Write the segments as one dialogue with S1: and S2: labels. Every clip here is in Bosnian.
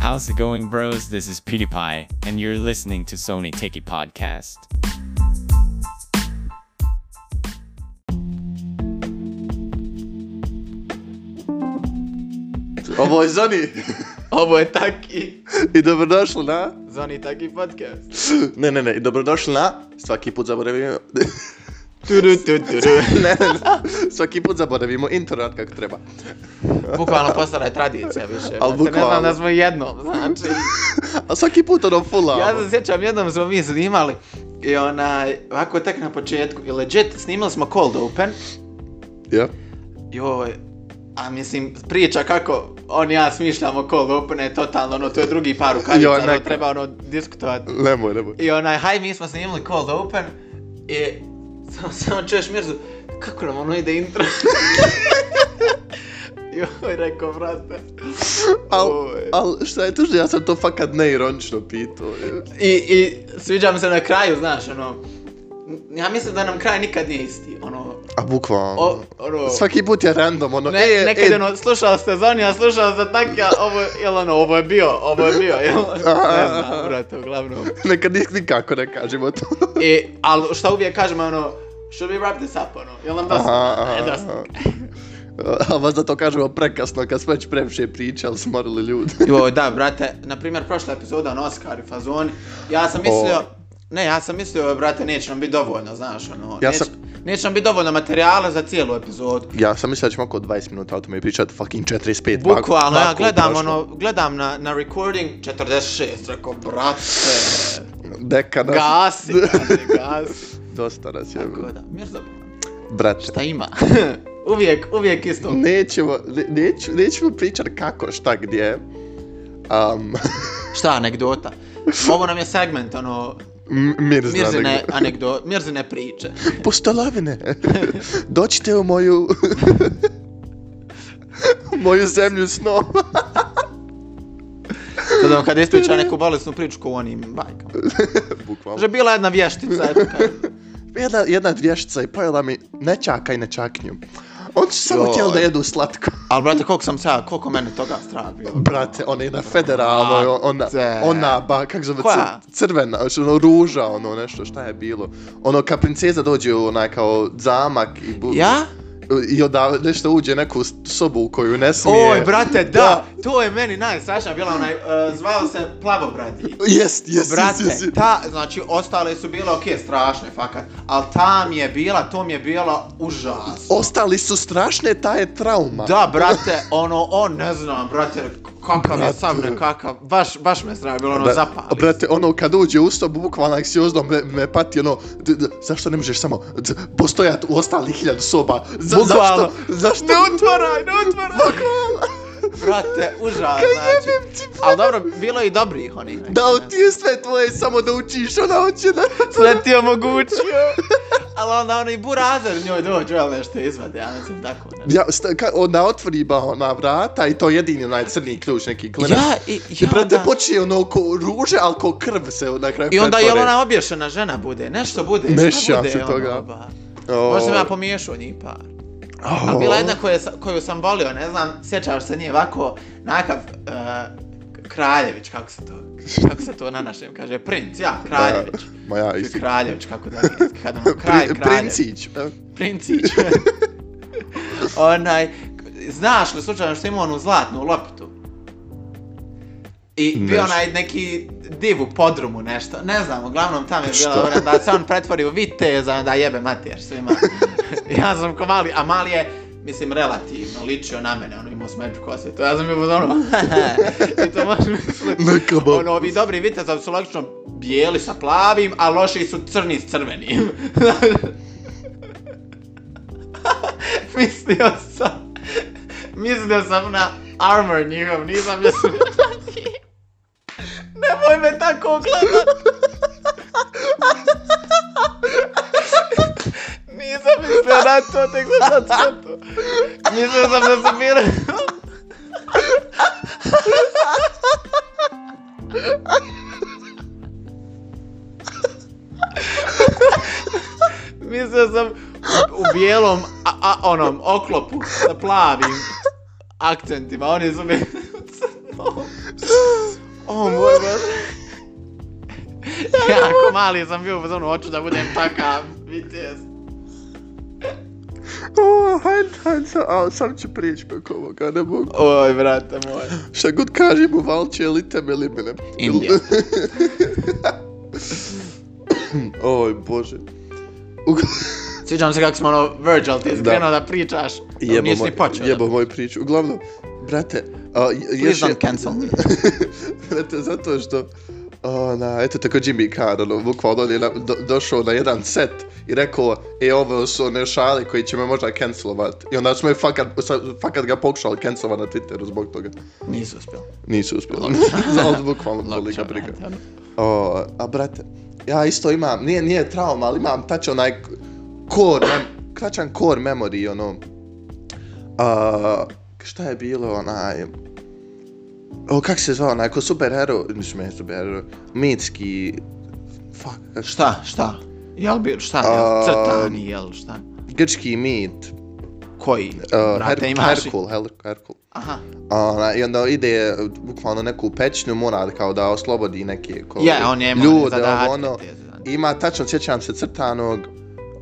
S1: How's it going, bros? This is PewDiePie, and you're listening to Sony Techie Podcast.
S2: Ovo je Zoni
S3: Ovo je taki
S2: i dobrodošli na...
S3: Zoni taki podcast.
S2: Ne, ne, ne, i dobrodošli na... Svaki put zaboravimo...
S3: Turu, tu, turu.
S2: ne, ne, ne, svaki put zaboravimo internet kako treba.
S3: Bukvalno postala je tradicija više.
S2: Al
S3: Al Ne
S2: bukvalno.
S3: znam da smo jednom, znači.
S2: A svaki put ono full
S3: Ja se sjećam, jednom smo mi snimali i onaj, ovako tek na početku, i legit snimali smo cold open,
S2: Ja?
S3: joj, a mislim, priča kako on i ja smišljamo cold open je totalno, ono, to je drugi par rukavica,
S2: Joj,
S3: ono,
S2: neka.
S3: treba ono diskutovati.
S2: Nemoj, nemoj.
S3: I onaj, haj, mi smo snimili cold open i samo, samo čuješ Mirzu, kako nam ono ide intro? Joj, rekao, brate.
S2: Al,
S3: Ovo je-
S2: al šta je tužno, ja sam to fakat neironično pitao. je.
S3: I, I sviđa mi se na kraju, znaš, ono, n- ja mislim da nam kraj nikad nije isti, ono,
S2: A bukvalno.
S3: o, ono,
S2: Svaki put je random, ono...
S3: ne,
S2: e,
S3: nekad
S2: e,
S3: ono, slušao ste Zonija, slušao ste Takija, ovo, je- jel ono, ovo je bio, ovo je bio, jel, ne znam, brate, uglavnom.
S2: Nekad nik- nikako ne kažemo to.
S3: E, ali šta uvijek kažemo, ono, should we wrap this up, ono, jel nam dosta,
S2: Aha,
S3: E,
S2: aha,
S3: dosta.
S2: aha. A vas da to kažemo prekasno, kad smo već previše pričali, smorili ljudi.
S3: Joj, da, brate, na primjer, prošla epizoda na Oscar i fazon, ja sam mislio,
S2: O.
S3: ne, ja sam mislio, brate, neće nam biti dovoljno, znaš, ono,
S2: Ja
S3: neće,
S2: sam-
S3: neće nam biti dovoljno materijala za cijelu epizodu.
S2: Ja sam mislio da ćemo oko 20 minuta o tome pričati, fucking 45. pa-
S3: Bukvalno, ja
S2: tako
S3: gledam,
S2: prošlo.
S3: ono, gledam na, na recording 46, rekao, brate,
S2: Deka nas...
S3: gasi, kaže, gasi.
S2: Dosta nas je,
S3: Tako da, mirza,
S2: brate.
S3: šta ima? uvijek, uvijek isto.
S2: Nećemo, ne, neć, nećemo pričat kako, šta, gdje. Um,
S3: Šta, anegdota? Ovo nam je segment, ono,
S2: M- Mirza.
S3: Mirzine
S2: nego-
S3: anegdote, Mirzine priče.
S2: Pustolovine. Doćite u moju... u moju zemlju snova.
S3: Sad on kad ispriča neku bolesnu priču ko u onim bajkama.
S2: Bukvalno.
S3: Kaže, bila jedna vještica, eto kaže.
S2: Jedna, jedna dvještica je pojela mi nečaka i nečaknju. Oni su samo
S3: Joj.
S2: htjeli da jedu slatko.
S3: Ali, brate, koliko sam sad, koliko mene toga strah bilo.
S2: Brate, ona je na federalnoj, ona,
S3: Brate.
S2: ona, ba, kako zove,
S3: Koja?
S2: cr, crvena, znači, ono, ruža, ono, nešto, šta je bilo. Ono, kad princeza dođe u onaj, kao, zamak i bu...
S3: Ja?
S2: I onda nešto uđe neku s- sobu u koju ne smije.
S3: Oj, brate, da, to je meni najstrašnija bila onaj, uh, zvao se Plavobradi.
S2: Jest, jest,
S3: Brate,
S2: jest, jest.
S3: ta, znači, ostale su bile okej, strašne, fakat, ali ta mi je bila, to mi je bila užasno.
S2: Ostali su strašne, ta je trauma.
S3: Da, brate, ono, on, ne znam, brate, kakav je
S2: Brate.
S3: sam nekakav, baš, baš me strah bilo, ono,
S2: Bra-
S3: zapali.
S2: Brate, ono, kad uđe u sobu, bukvalno anksiozno me, me pati, ono, d, d, zašto ne možeš samo d, postojat u ostalih hiljadu soba? Za,
S3: Bukvalno.
S2: Zašto? Zašto?
S3: Ne otvaraj, ne otvaraj! Brate, užas, znači.
S2: Jebem ti,
S3: Ali dobro, bilo je i dobrih onih. nekih,
S2: Da,
S3: ne.
S2: ti je sve tvoje, samo da učiš, ona hoće da...
S3: Sve ti je omogućio. Ali onda onaj burazer njoj dođe, ali nešto izvade, ja mislim tako. Ne.
S2: Ja, sta, ka, ona otvori ba ona vrata i to je jedini onaj crni ključ, neki klinac.
S3: Ja, i,
S2: I
S3: ja,
S2: brate,
S3: da.
S2: počinje ono ko ruže, ali ko krv se na kraju
S3: I onda je
S2: pretvore.
S3: ona obješena žena bude, nešto bude,
S2: Nešto
S3: šta
S2: ja
S3: bude
S2: se toga.
S3: Ono, ba.
S2: O,
S3: Možda sam ja pomiješao njih par. A bila jedna koje, sa- koju sam volio, ne znam, sjećaš se nje ovako, nakav uh, Kraljević, kako se to, kako se to na našem kaže, princ, ja, Kraljević.
S2: E, Ma ja, isti.
S3: Kraljević, kako da nije, kad ono, kraj,
S2: Pri-
S3: Kraljević.
S2: Princić. e.
S3: Princić. Onaj, znaš li slučajno što ima onu zlatnu loptu? I bio
S2: Nešto.
S3: onaj neki div u podrumu nešto, ne znam, uglavnom tam je
S2: Što?
S3: bila ona da se on pretvori u vitez, a da jebe mater svima. ja sam ko mali, a mali je, mislim, relativno ličio na mene, ono imao smeđu kosvetu, ja sam bio uz ono, i to možeš misliti.
S2: Neka ba-
S3: Ono, ovi dobri vitezovi su logično bijeli sa plavim, a loši su crni s crvenim. mislio sam, mislio sam na armor njihov, nisam mislio na njih. Nemoj me tako gledat. Nisam mislio na to, tek sam sad shvatio. Mislio sam da su bile... Mislio sam u bijelom, a, a, onom, oklopu sa plavim akcentima, oni su mi u crnom. O moj bože. ja ako mali sam bio u zonu, hoću da budem takav, vitez.
S2: O, hajde, hajde, sa- a, sam ću prijeći preko ovoga, ne mogu.
S3: Oj, brate moj.
S2: Šta god kažem, uvalče ili tebe ili mene.
S3: Indija.
S2: Oj, bože. Ug-
S3: Sviđam se kako smo ono, Virgil, ti si
S2: Da.
S3: krenuo da pričaš.
S2: Jebo
S3: Nisi
S2: moj,
S3: ni počeo.
S2: jebo moju priču. Uglavnom, brate, a, j- još
S3: Please
S2: je...
S3: don't cancel me.
S2: Brate, zato što... Ona, eto tako Jimmy Carr, ono, bukvalno on je na, do, došao na jedan set i rekao, e, ovo su one šale koji će me možda cancelovat. I onda smo je fakat, sa- fakat ga pokušali cancelovat na Twitteru zbog toga.
S3: Nisi uspio.
S2: Nisu uspjeli. Zato bukvalno tolika briga.
S3: brate, ono.
S2: O, a brate, ja isto imam, nije, nije trauma, ali imam tač onaj core, mem, kraćan core memory, ono, a, šta je bilo onaj, o, kak se zvao onaj, ko superhero, mislim, ne superhero, mitski, fuck, kak-
S3: Šta, šta? Jel bi, šta,
S2: A-
S3: jel, crtani, jel, šta?
S2: grčki mit,
S3: Koji?
S2: uh,
S3: brate,
S2: Her,
S3: imaš i-
S2: Herkul, Her, Herkul.
S3: Aha,
S2: Ona, I onda ide e, bukvalno neku pećinu, mora kao da oslobodi neke ko,
S3: je, on je imao one
S2: ljude,
S3: zadatke,
S2: ovo, ono,
S3: te zadatke.
S2: ima, tačno sjećam se crtanog,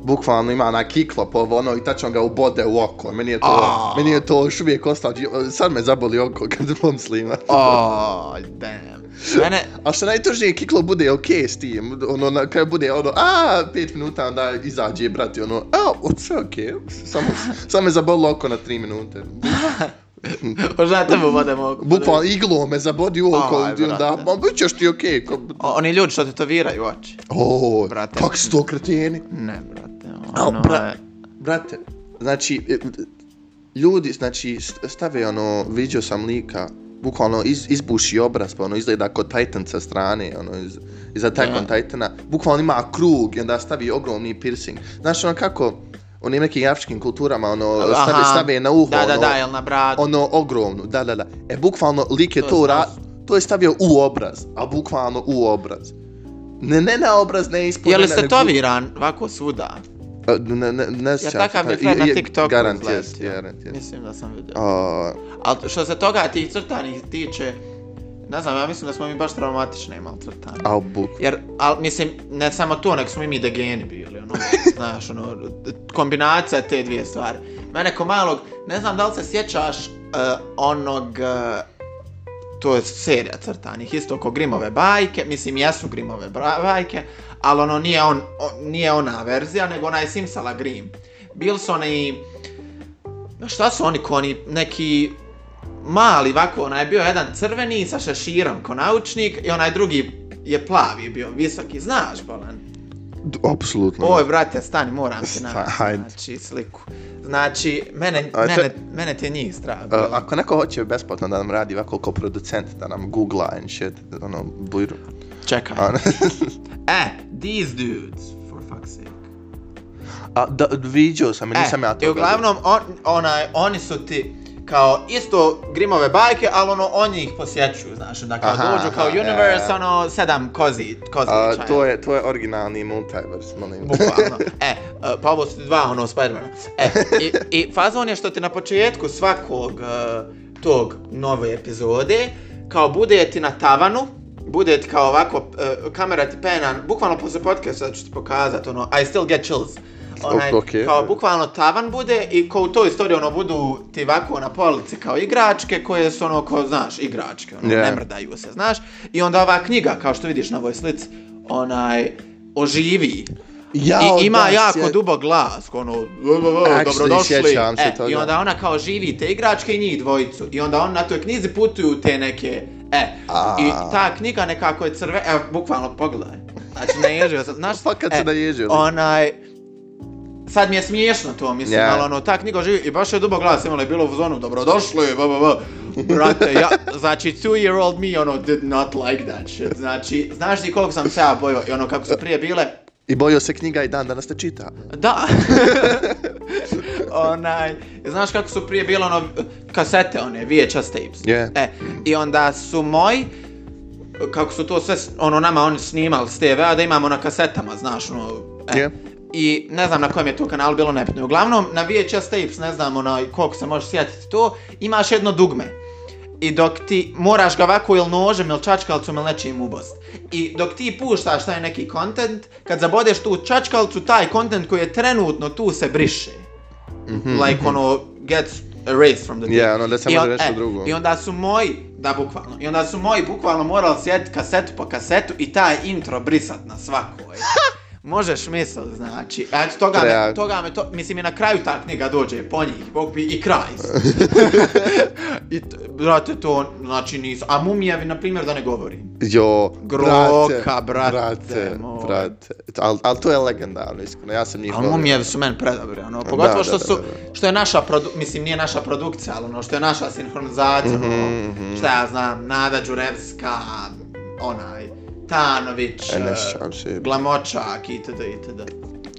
S2: bukvalno ima na kiklop ovo ono i tačno ga ubode u oko. Meni je to,
S3: Aaa.
S2: meni je to još uvijek ostao, sad me zaboli oko kad pomislim. na to.
S3: Oh, damn. Mene,
S2: A što najtužnije, kiklo bude okej okay s tim, ono, na kraju bude ono, a, pet minuta, onda izađe, brati, ono, a, sve okej, samo, samo me zabolilo oko na tri minute.
S3: možda tebe pa vodem oko.
S2: Bukvalno, iglo me zabodi u oko,
S3: Aj,
S2: i onda,
S3: brate.
S2: ma, bit ćeš ti okej. Okay.
S3: O- Oni ljudi što tetoviraju oči.
S2: O,
S3: Brate.
S2: kak su to kreteni.
S3: Ne, brate,
S2: Al,
S3: ono
S2: bra-
S3: je...
S2: Brate, znači, e, ljudi, znači, st- stave ono, vidio sam lika, bukvalno iz, izbuši obraz, pa ono izgleda kao Titan sa strane, ono, iz, iz Attack on Titana, bukvalno ima krug i onda stavi ogromni piercing. Znaš ono kako, u onim nekim afričkim kulturama, ono,
S3: Aha.
S2: stave, stave na uho,
S3: Da, da,
S2: ono,
S3: da, jel na bradu?
S2: ono, ogromnu, da, da, da. E, bukvalno, lik je
S3: To
S2: to,
S3: je
S2: to, ra-
S3: strašno.
S2: to je stavio u obraz, a bukvalno u obraz. Ne, ne na obraz, ne ispod.
S3: Je li
S2: ne- ne-
S3: se toviran ovako svuda?
S2: A, Ne, ne, ne
S3: Ja
S2: sjećam se.
S3: takav
S2: Ha,
S3: je fred
S2: pa, je-
S3: na
S2: je-
S3: TikToku
S2: Garant
S3: izletio.
S2: jest, garant jest.
S3: Mislim da sam vidio.
S2: A,
S3: Ali što se toga tih crtanih tiče, ne znam, ja mislim da smo mi baš traumatične imali crtane.
S2: a buk.
S3: Jer, al, mislim, ne samo to, nek smo i mi degeni bili, ono, znaš, ono, kombinacija te dvije stvari. Mene ko malog, ne znam da li se sjećaš uh, onog, uh, to je serija crtanih, isto oko Grimove bajke, mislim, jesu Grimove bra- bajke, ali ono, nije, on, on, nije ona verzija, nego onaj Simsala Grim. Bili su oni, šta su oni ko oni, neki mali ovako, onaj je bio jedan crveni sa šeširom ko naučnik i onaj drugi je plavi bio, visoki, znaš Bolan?
S2: D- Apsolutno.
S3: Oj, brate, stani, moram ti
S2: Sta-
S3: naći,
S2: hajde.
S3: znači, sliku. Znači, mene,
S2: A,
S3: mene,
S2: ček-
S3: mene ti je njih strah.
S2: A,
S3: bilo.
S2: ako neko hoće besplatno da nam radi ovako kao producent, da nam googla and shit, ono, bujru.
S3: Čekaj.
S2: A, ne-
S3: E, these dudes, for fuck's sake. E,
S2: a da, vidio sam, i nisam ja to gledao.
S3: i uglavnom, on, onaj, oni su ti kao isto Grimove bajke, ali ono, oni ih posjećuju, znaš, onda kao
S2: Aha,
S3: dođu kao
S2: aha, ja,
S3: Universe,
S2: ja.
S3: ono, sedam kozi, kozi
S2: A, to je, to je originalni multiverse, molim.
S3: Bukvalno. E, uh, pa ovo su dva, ono, Spidermana. E, i, i fazon je što ti na početku svakog uh, tog nove epizode, kao bude ti na tavanu, bude ti kao ovako, uh, kamera ti pena, bukvalno posle podcasta ću ti pokazat, ono, I still get chills. Onaj,
S2: Ok.
S3: kao bukvalno tavan bude i ko u toj storiji ono budu ti ovako na polici kao igračke koje su ono kao znaš igračke ono
S2: Yeah.
S3: ne mrdaju se znaš i onda ova knjiga kao što vidiš na ovoj slici onaj oživi
S2: Jao,
S3: i, ima
S2: da,
S3: jako
S2: sjed-
S3: dubok glas, ono, "Lo, lo, lo,
S2: Actually,
S3: dobrodošli.
S2: sjećam se
S3: E,
S2: toga.
S3: I onda ona kao živi te igračke i njih dvojicu. I onda on na toj knjizi putuju te neke, e.
S2: A.
S3: I ta knjiga nekako je crve, evo, bukvalno pogledaj. Znači, naježio sam, znaš, e,
S2: Fakat Pa se naježio, lik.
S3: Onaj, Sad mi je smiješno to, mislim,
S2: Ja.
S3: ali ono, ta knjiga živi i baš je dubok glas imala i bilo u zonu, dobrodošli, ba, ba, ba. Brate, ja, znači, two year old me, ono, did not like that shit. Znači, znaš ti koliko sam se ja bojio i ono, kako su prije bile,
S2: I bojio se knjiga i dan danas ne čita.
S3: Da. Onaj, znaš kako su prije bile ono kasete one, VHS tapes.
S2: Je.
S3: E, i onda su moji kako su to sve s- ono nama oni snimali s TV-a da imamo na kasetama, znaš, ono e.
S2: Je.
S3: I ne znam na kojem je to kanalu bilo nebitno. Uglavnom, na VHS tapes, ne znam onaj, koliko se može sjetiti to, imaš jedno dugme. I dok ti moraš ga ovako ili nožem ili čačkalcom ili nečim ubost. I dok ti puštaš taj neki kontent, kad zabodeš tu čačkalcu, taj kontent koji je trenutno tu se briše.
S2: Mhm.
S3: Like ono, gets erased from the
S2: Je, ono, da se
S3: I
S2: može
S3: on-
S2: nešto
S3: e,
S2: drugo.
S3: I onda su moji, da bukvalno, i onda su moji bukvalno morali sjediti kasetu po kasetu i taj intro brisat na e. svakoj. Možeš misl, znači, a toga me,
S2: Preak.
S3: toga me to, mislim i na kraju ta knjiga dođe po njih, bog bi i kraj. I, t- brate, to, znači nisu, a mumijevi, na primjer, da ne govorim.
S2: Jo,
S3: Groka, brate
S2: brate,
S3: moj.
S2: brate. Ali al to je legendarno, iskreno, ja sam njih
S3: A mumijevi su meni predobri, ono, pogotovo
S2: da,
S3: što
S2: da,
S3: su,
S2: da, da.
S3: što je naša, produ, mislim, nije naša produkcija, ali ono, što je naša sinhronizacija,
S2: Mhm,
S3: ono,
S2: mhm.
S3: šta ja znam, Nada Đurevska, onaj, Tanović,
S2: E,
S3: e,
S2: neš Čamši.
S3: Glamočak, itd., itd.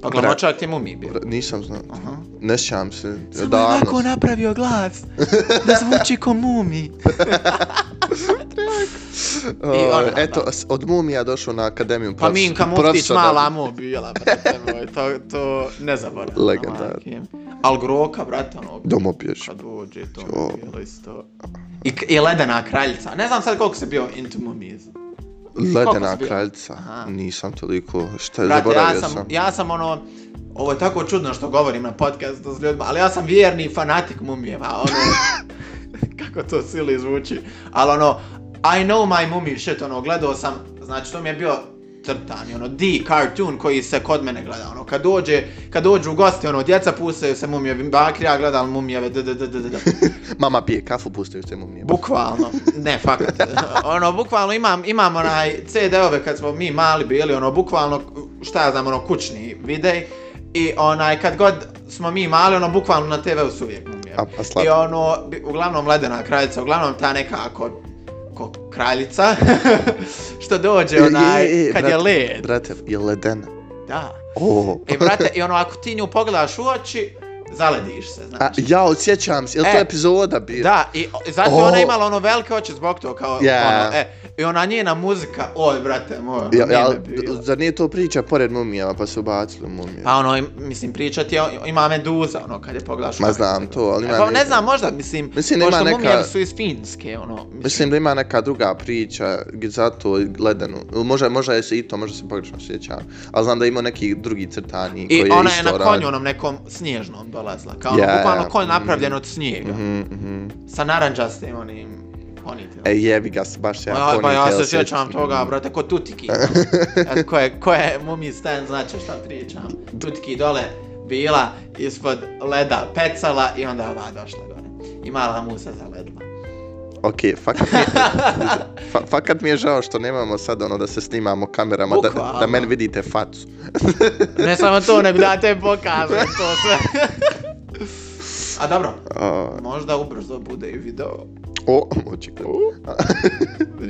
S3: Pa Glamočak ti mumi bio.
S2: Nisam znao.
S3: Aha.
S2: Neš Čamši.
S3: Samo je
S2: Davno.
S3: ovako napravio glas, da zvuči ko mumi.
S2: O,
S3: ona,
S2: E, Eto,
S3: da.
S2: s- od mumija došao na akademiju.
S3: Pa
S2: prof-
S3: Minka Muftić
S2: profesor da-
S3: mala mu bila, brate moj, to, to ne zaboravim.
S2: Legendar.
S3: Al Groka, brate, ono,
S2: Domopješ.
S3: kad uđe to
S2: Jo.
S3: mi je bilo isto. I, k- I Ledena kraljica. Ne znam sad koliko se bio into mummies.
S2: Ledena
S3: si bio?
S2: kraljica.
S3: Aha.
S2: Nisam toliko. Šta je,
S3: Brate, ja
S2: zaboravio
S3: sam,
S2: sam.
S3: ja sam ono, ovo je tako čudno što govorim na podcastu s ljudima, ali ja sam vjerni fanatik mumijeva, ono, kako to sili zvuči, ali ono, I know my mummy shit, ono, gledao sam, znači to mi je bio crtani, ono, D cartoon koji se kod mene gleda, ono, kad dođe, kad dođu u gosti, ono, djeca pustaju se mumijevi, bakri, ja gledam mumijeve, d, d, d, d, d, d.
S2: Mama pije kafu, pustaju se mumije.
S3: Bukvalno, ne, fakat. Ono, bukvalno imam, imam onaj CD-ove kad smo mi mali bili, ono, bukvalno, šta ja znam, ono, kućni videj. I onaj, kad god smo mi mali, ono, bukvalno na TV-u su uvijek mumije.
S2: A, pa slatko.
S3: I ono, bi- uglavnom ledena kraljica, uglavnom ta neka ako ko kraljica, što dođe onaj,
S2: E, e, e,
S3: kad je
S2: brate,
S3: led.
S2: Brate, je ledena.
S3: Da.
S2: O.
S3: I brate, i ono, ako ti nju pogledaš u oči, zalediš se,
S2: A,
S3: znači.
S2: ja osjećam se, je li to
S3: E.
S2: epizoda bila?
S3: Da, i i zato je
S2: O.
S3: ona imala ono velike oči zbog toga, kao
S2: Ja.
S3: ono, e, i ona njena muzika, oj brate moj, ono,
S2: Ja, ja,
S3: nije me bilo.
S2: zar nije to priča pored mumijama pa su ubacili mumije?
S3: Pa ono, im- mislim, pričati, ima Meduza, ono, kad je pogledaš.
S2: Ma
S3: kako
S2: znam
S3: se
S2: to, ali
S3: E,
S2: ima
S3: Pa ne
S2: neka-
S3: znam, možda, mislim,
S2: Mislim,
S3: pošto
S2: ima neka-
S3: mumijevi su iz Finske, ono,
S2: Mislim da ima neka druga priča gdje zato ledenu. Možda, možda je se i to, možda se pogrešno sjećam. Ali znam da ima neki drugi crtani koji je
S3: I
S2: isto
S3: ona je na konju
S2: radio.
S3: onom nekom snježnom dolazila, kao
S2: Ja,
S3: ono, bukvalno
S2: ja,
S3: konj
S2: mhm.
S3: napravljen od snijega,
S2: Mhm, mhm.
S3: sa naranđastim onim ponytailom.
S2: E jebi ga, baš ja
S3: Ja, pa ja
S2: ponytail
S3: se
S2: sjećam.
S3: sjećam toga, brate, ko Tutiki. Eto, ko je, ko je mumi stan, znači šta pričam. Tutiki dole bila ispod leda pecala i onda ova došla gore. I mala musa zaledla.
S2: Okej, fakat mi, je, fa, fakat mi je žao što nemamo sad ono da se snimamo kamerama, da, da, da
S3: Bukvalno.
S2: meni vidite facu.
S3: Ne samo to, nego da te pokažem to sve. A dobro,
S2: A,
S3: možda ubrzo bude i video.
S2: o, očekaj.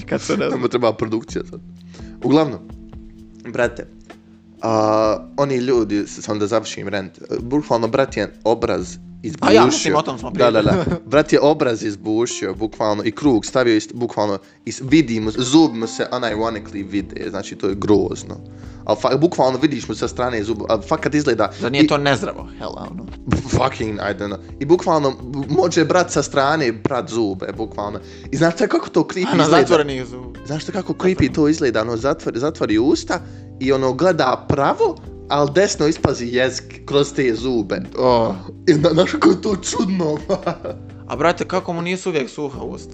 S3: Kad se ne
S2: Nama treba produkcija sad. Uglavnom, brate, a, oni ljudi, s- samo da završim rent, bukvalno brat je obraz izbušio.
S3: A ja, mislim, o tom smo
S2: Da,
S3: prije.
S2: da, da. Brat je obraz izbušio, bukvalno, i krug stavio, ist, bukvalno, i s- vidi mu, zub mu se unironically vide, znači to je grozno. Ali fa, bukvalno vidiš mu sa strane zubu, ali fakat izgleda...
S3: Da
S2: i-
S3: nije to nezdravo, hela, ono.
S2: fucking, I don't know. I bukvalno, b- može brat sa strane, brat zube, bukvalno. I znate kako to creepy
S3: A na
S2: izgleda?
S3: zatvorenih zubu.
S2: Znaš to kako creepy to izgleda, ono zatvori, zatvori usta i ono gleda pravo, ali desno ispazi jezik kroz te zube.
S3: Oh.
S2: I na, znaš kako je to čudno.
S3: A brate, kako mu nisu uvijek suha usta?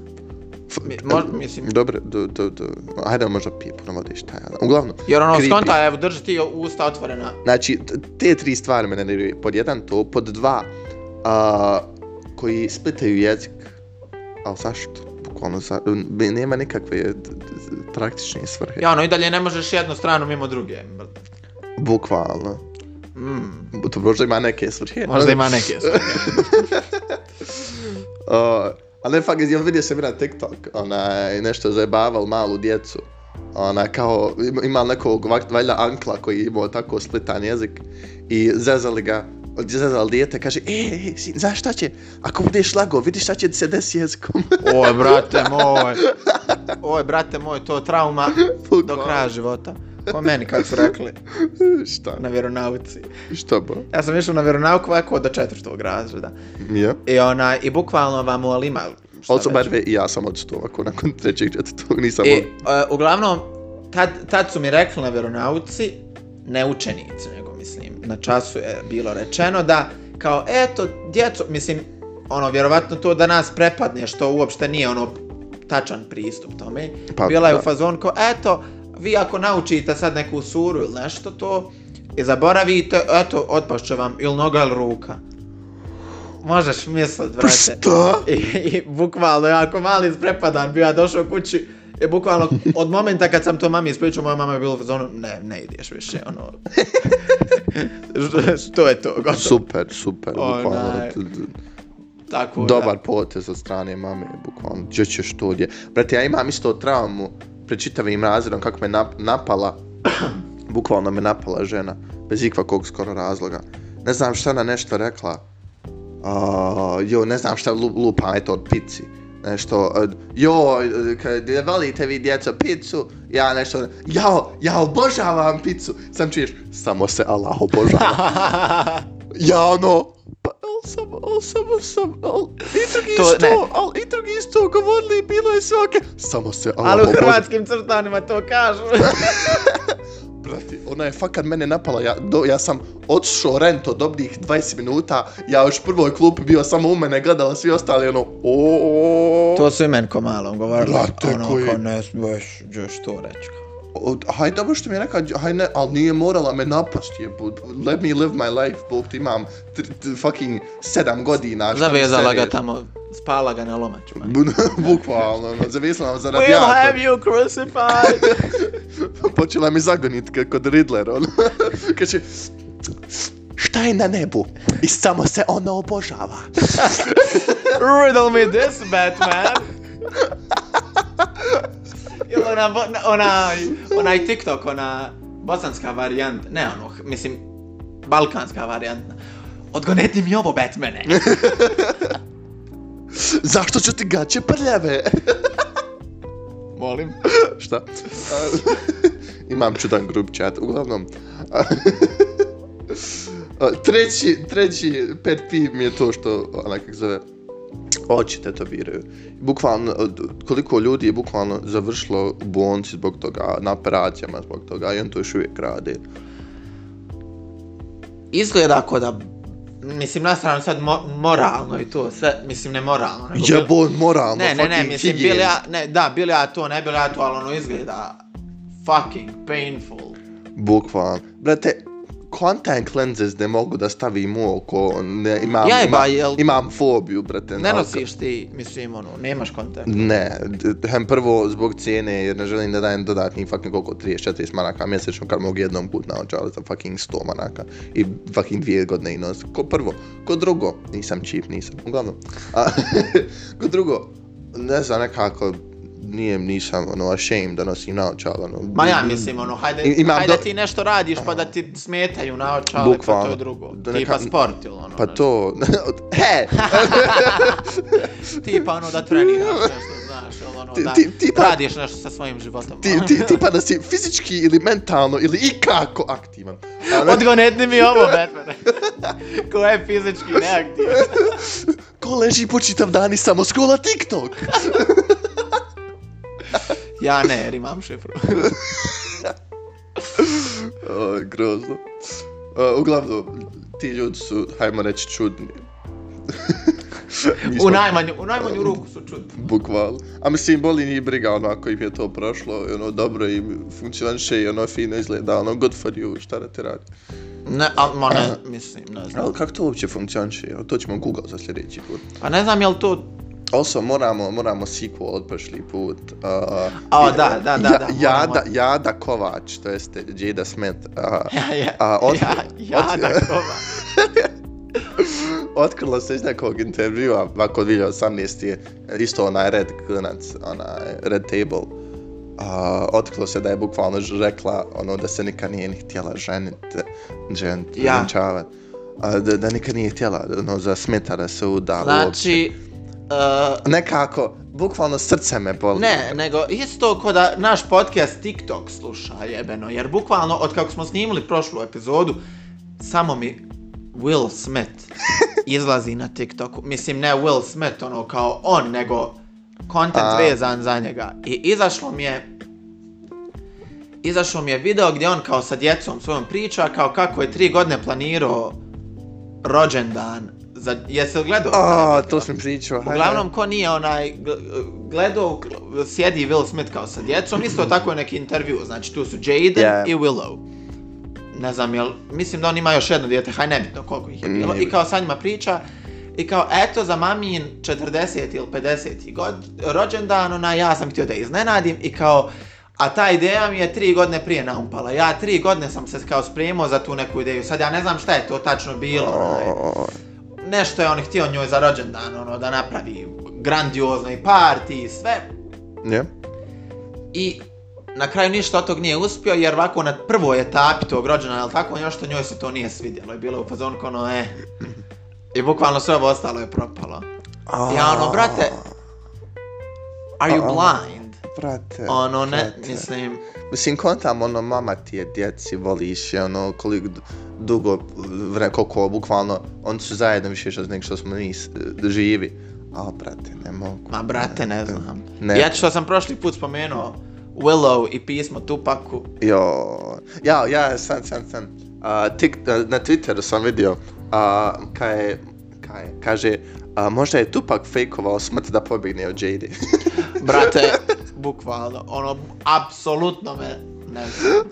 S3: Mi- mož- mislim-
S2: Dobro, do, do, do. Ajde, možda pije puno vode, šta ja. znam. Uglavnom,
S3: Jer ono,
S2: Creepy.
S3: skonta, evo, drži ti usta otvorena.
S2: Znači, t- te tri stvari me nerviraju. Pod jedan to, pod dva, a, koji splitaju jezik. Ali zašto? Bukvalno, za, m- nema nikakve d- d- praktične svrhe.
S3: Ja ono, i dalje ne možeš jednu stranu mimo druge. brate.
S2: Bukvalno.
S3: Mm,
S2: Bu- To možda ima neke svrhe.
S3: možda ima neke stvari.
S2: Uh, ali ne, fakt, jel vidio sam i na TikTok, onaj, nešto zajebaval malu djecu. Ona, kao, im- ima nekog, vak- valjda, ankla koji je imao tako splitan jezik i zezali ga, zezali dijete, kaže, e, e, sin, znaš šta će, ako budeš lago, vidiš šta će ti se desi jezikom.
S3: Oj, brate moj. Oj, brate moj, to trauma do
S2: Bukvalno.
S3: kraja života. Po meni, kako su rekli,
S2: šta,
S3: na vjeronauci.
S2: šta bo?
S3: Ja sam išao na vjeronauku ovako do četvrtog razreda.
S2: Ja.
S3: I ona, i bukvalno vam u Alima, šta znači,
S2: Ali sam, by
S3: reći.
S2: the way, i ja sam odstao ovako nakon trećeg četvrtog, nisam
S3: E,
S2: e,
S3: e, uglavnom, tad, tad su mi rekli na veronauci, ne učenici, nego mislim, na času je bilo rečeno da, kao, eto, djeco, mislim, ono, vjerovatno to da nas prepadne, što uopšte nije, ono, tačan pristup tome.
S2: Pa,
S3: Bila je u
S2: da.
S3: fazon kao, eto, vi ako naučite sad neku suru ili nešto to, i zaboravite, eto, otpašće vam ili noga ili ruka. Možeš mislit,
S2: Pa
S3: brate.
S2: šta?
S3: I, i bukvalno, ja ako mali isprepadan bio, ja došao kući, je bukvalno od momenta kad sam to mami ispričao, moja mama je bila u zonu, ne, ne ideš više, ono, Što- što je to, gotovo.
S2: Super, super,
S3: Onaj,
S2: bukvalno. t- t-
S3: Tako, da.
S2: Dobar potez od strane mame, bukvalno. Gdje ćeš to gdje? Brate, ja imam isto traumu pred čitavim razredom kako me nap napala. bukvalno me napala žena. Bez ikvakog skoro razloga. Ne znam šta na nešto rekla. Uh, jo, ne znam šta lu- lupa, eto, od pici. Nešto, uh, jo, eh, kad ne volite vi djeco picu, ja nešto, jao, ja obožavam picu. Sam čuješ, samo se Allah obožava. Ja ono, pa al sam, al samo sam, al i drugi
S3: To
S2: to,
S3: ne.
S2: isto, al i drugi isto govorili, bilo je sve okej. Samo se, al,
S3: Ali u
S2: obož-
S3: hrvatskim crtanima to kažu.
S2: Brati, ona je fakat mene napala, ja, do, ja sam odšao rent od dobrih 20 minuta, ja još prvoj klupi bio samo u mene, gledala svi ostali, ono, o,
S3: to su i meni ko malom govorili,
S2: Brate,
S3: ono,
S2: koji-
S3: kao ne smiješ, ćeš to reći. kao.
S2: o, haj dobro što mi je rekao, haj ne, ali nije morala me napasti, jebut, let me live my life, bog ti imam t, t, fucking 7 godina. šta mi
S3: Zavezala ga
S2: sereš?
S3: tamo, spala ga na lomaču. man.
S2: Bu- Bukvalno, ono, zavisla nam za
S3: We'll have
S2: radijator.
S3: you crucified!
S2: Počela mi zagonit ka- kod Riddler, ono. Kaže, šta je na nebu? I samo se ono obožava.
S3: Riddle me this, Batman! Ili ona, bo- na- onaj, onaj TikTok, ona bosanska varijanta, ne ono, h- mislim, balkanska varijanta. Odgoneti mi ovo, Batmane!
S2: Zašto ću ti gaće prljave?
S3: Molim.
S2: šta? A, Imam čudan grup chat, uglavnom. a, a, treći, treći pet piv mi je to što, onaj kak zove, oči tetoviraju. Bukvalno, od- koliko ljudi je bukvalno završilo u bolnici zbog toga, na operacijama zbog toga, i on to još uvijek radi.
S3: Izgleda ako da, mislim, na stranu sad mo moralno i to, sve, mislim, ne moralno. nego bilo-
S2: Jebon, moralno,
S3: Ne, ne, ne,
S2: fucking
S3: mislim,
S2: higijen.
S3: bil ja, ne, da, bil ja to, ne bil ja to, ali ono izgleda fucking painful.
S2: Bukvalno. Brate, contact lenses ne mogu da stavim u oko, ne, imam,
S3: Jaj, Ja ba,
S2: imam,
S3: jel-
S2: imam fobiju, brate.
S3: Ne
S2: ali-
S3: nosiš ti, mislim, ono, nemaš kontakt.
S2: Ne, d- hem prvo zbog cijene jer ne želim da dajem dodatnih fucking koliko 30-40 manaka mjesečno kad mogu jednom put naočale za fucking 100 manaka i fucking dvije godine i nos. Ko prvo, ko drugo, nisam cheap, nisam, uglavnom. A, ko drugo, ne znam nekako, nije, nisam ono ashamed da nosim naočale. Ono,
S3: Ma ja mislim, ono, hajde,
S2: I- imam
S3: hajde
S2: do-
S3: ti nešto radiš pa da ti smetaju na očale, pa to
S2: Bukvalno.
S3: je drugo.
S2: Da neka-
S3: Tipa sport ili ono.
S2: Pa
S3: znaš.
S2: to, he,
S3: Tipa ono da treniraš nešto, znaš, ili ono,
S2: Ti-
S3: da
S2: ti- tipa-
S3: radiš nešto sa svojim životom.
S2: ti, ti, ti pa da si fizički ili mentalno ili ikako aktivan. Ali-
S3: ono. Odgonetni mi ovo, Batman. Ko je fizički neaktivan.
S2: Ko leži po čitav dan i samo skola TikTok?
S3: Ja ne, jer imam šifru.
S2: O, grozno. O, uglavnom, ti ljudi su, hajmo reći, čudni. Mi
S3: U
S2: smo-
S3: najmanju, u najmanju ruku su čudni.
S2: Bukvalno. A mislim, boli njih briga, ono, ako im je to prošlo, i ono, dobro im funkcioniše i ono, fino izgleda, ono, good for you, šta da te radi.
S3: Ne, a, ma ne, mislim, ne znam.
S2: Ali kako to uopće funkcioniše? Ono, To ćemo Google za sljedeći put.
S3: Pa ne znam jel to...
S2: Also, moramo, moramo sequel od prošli put. Uh,
S3: A, da, da, da, da,
S2: Jada,
S3: moramo.
S2: Jada Kovač, to jeste Jada Smith, uh,
S3: Ja, ja,
S2: A, od-
S3: ja, ja,
S2: od-
S3: da, kova.
S2: Otkrilo se iz nekog intervjua, ovako od 2018 je isto onaj Red klinac, onaj Red Table. A, otkrilo se da je bukvalno ž- rekla ono da se nikad nije ni htjela ženiti, ženit,
S3: Ja.
S2: ženčavat. A, da, da nikad nije htjela ono, za smeta da se uda uopće.
S3: Znači, uh,
S2: Nekako, bukvalno srce me boli.
S3: Ne, nego isto ko da naš podcast TikTok sluša jebeno, jer bukvalno od kako smo snimili prošlu epizodu, samo mi Will Smith izlazi na TikToku. Mislim, ne Will Smith, ono, kao on, nego content
S2: A.
S3: vezan za njega. I izašlo mi je izašao mi je video gdje on kao sa djecom svojom priča kao kako je tri godine planirao rođendan za jesi li gledao?
S2: A, to sam pričao. hajde.
S3: Uglavnom, ko nije onaj gl- gledao, gl- sjedi Will Smith kao sa djecom, isto
S2: Mhm.
S3: tako je neki intervju, znači tu su Jaden
S2: Yeah.
S3: i Willow. Ne znam, jel, mislim da on ima još jedno djete, haj nebitno koliko ih je bilo,
S2: Nije
S3: i kao sa njima priča, i kao, eto, za mamin 40 ili 50 god, rođendan, ona, ja sam htio da je iznenadim, i kao, a ta ideja mi je tri godine prije naumpala, ja tri godine sam se kao spremao za tu neku ideju, sad ja ne znam šta je to tačno bilo, onaj,
S2: O,
S3: nešto je on htio njoj za rođendan, ono, da napravi grandiozni parti i sve.
S2: Ne?
S3: I na kraju ništa od tog nije uspio, jer ovako na prvoj etapi tog rođendana, ali tako, još to njoj se to nije svidjelo. I bilo je u fazonu kao ono, eh. I bukvalno sve ovo ostalo je propalo.
S2: A,
S3: Ja ono, brate, Are you blind?
S2: Brate,
S3: Ono, ne,
S2: brate.
S3: mislim,
S2: Mislim, kontam, ono, mama ti je djeci, voliš je, ono, koliko d- dugo, vre, koliko, bukvalno, oni su zajedno više što nek što smo mi s- e, živi. A, brate, ne mogu.
S3: ma brate, ne znam.
S2: Ne.
S3: Ja ću što sam prošli put spomenuo, Willow i pismo Tupaku,
S2: Jo, ja, ja, san, san, san. Uh, tik, na Twitteru sam vidio, uh, kaj je, kaj je, kaže, a, možda je Tupak fejkovao smrt da pobjegne od JD.
S3: brate, bukvalno, ono, apsolutno me, ne znam.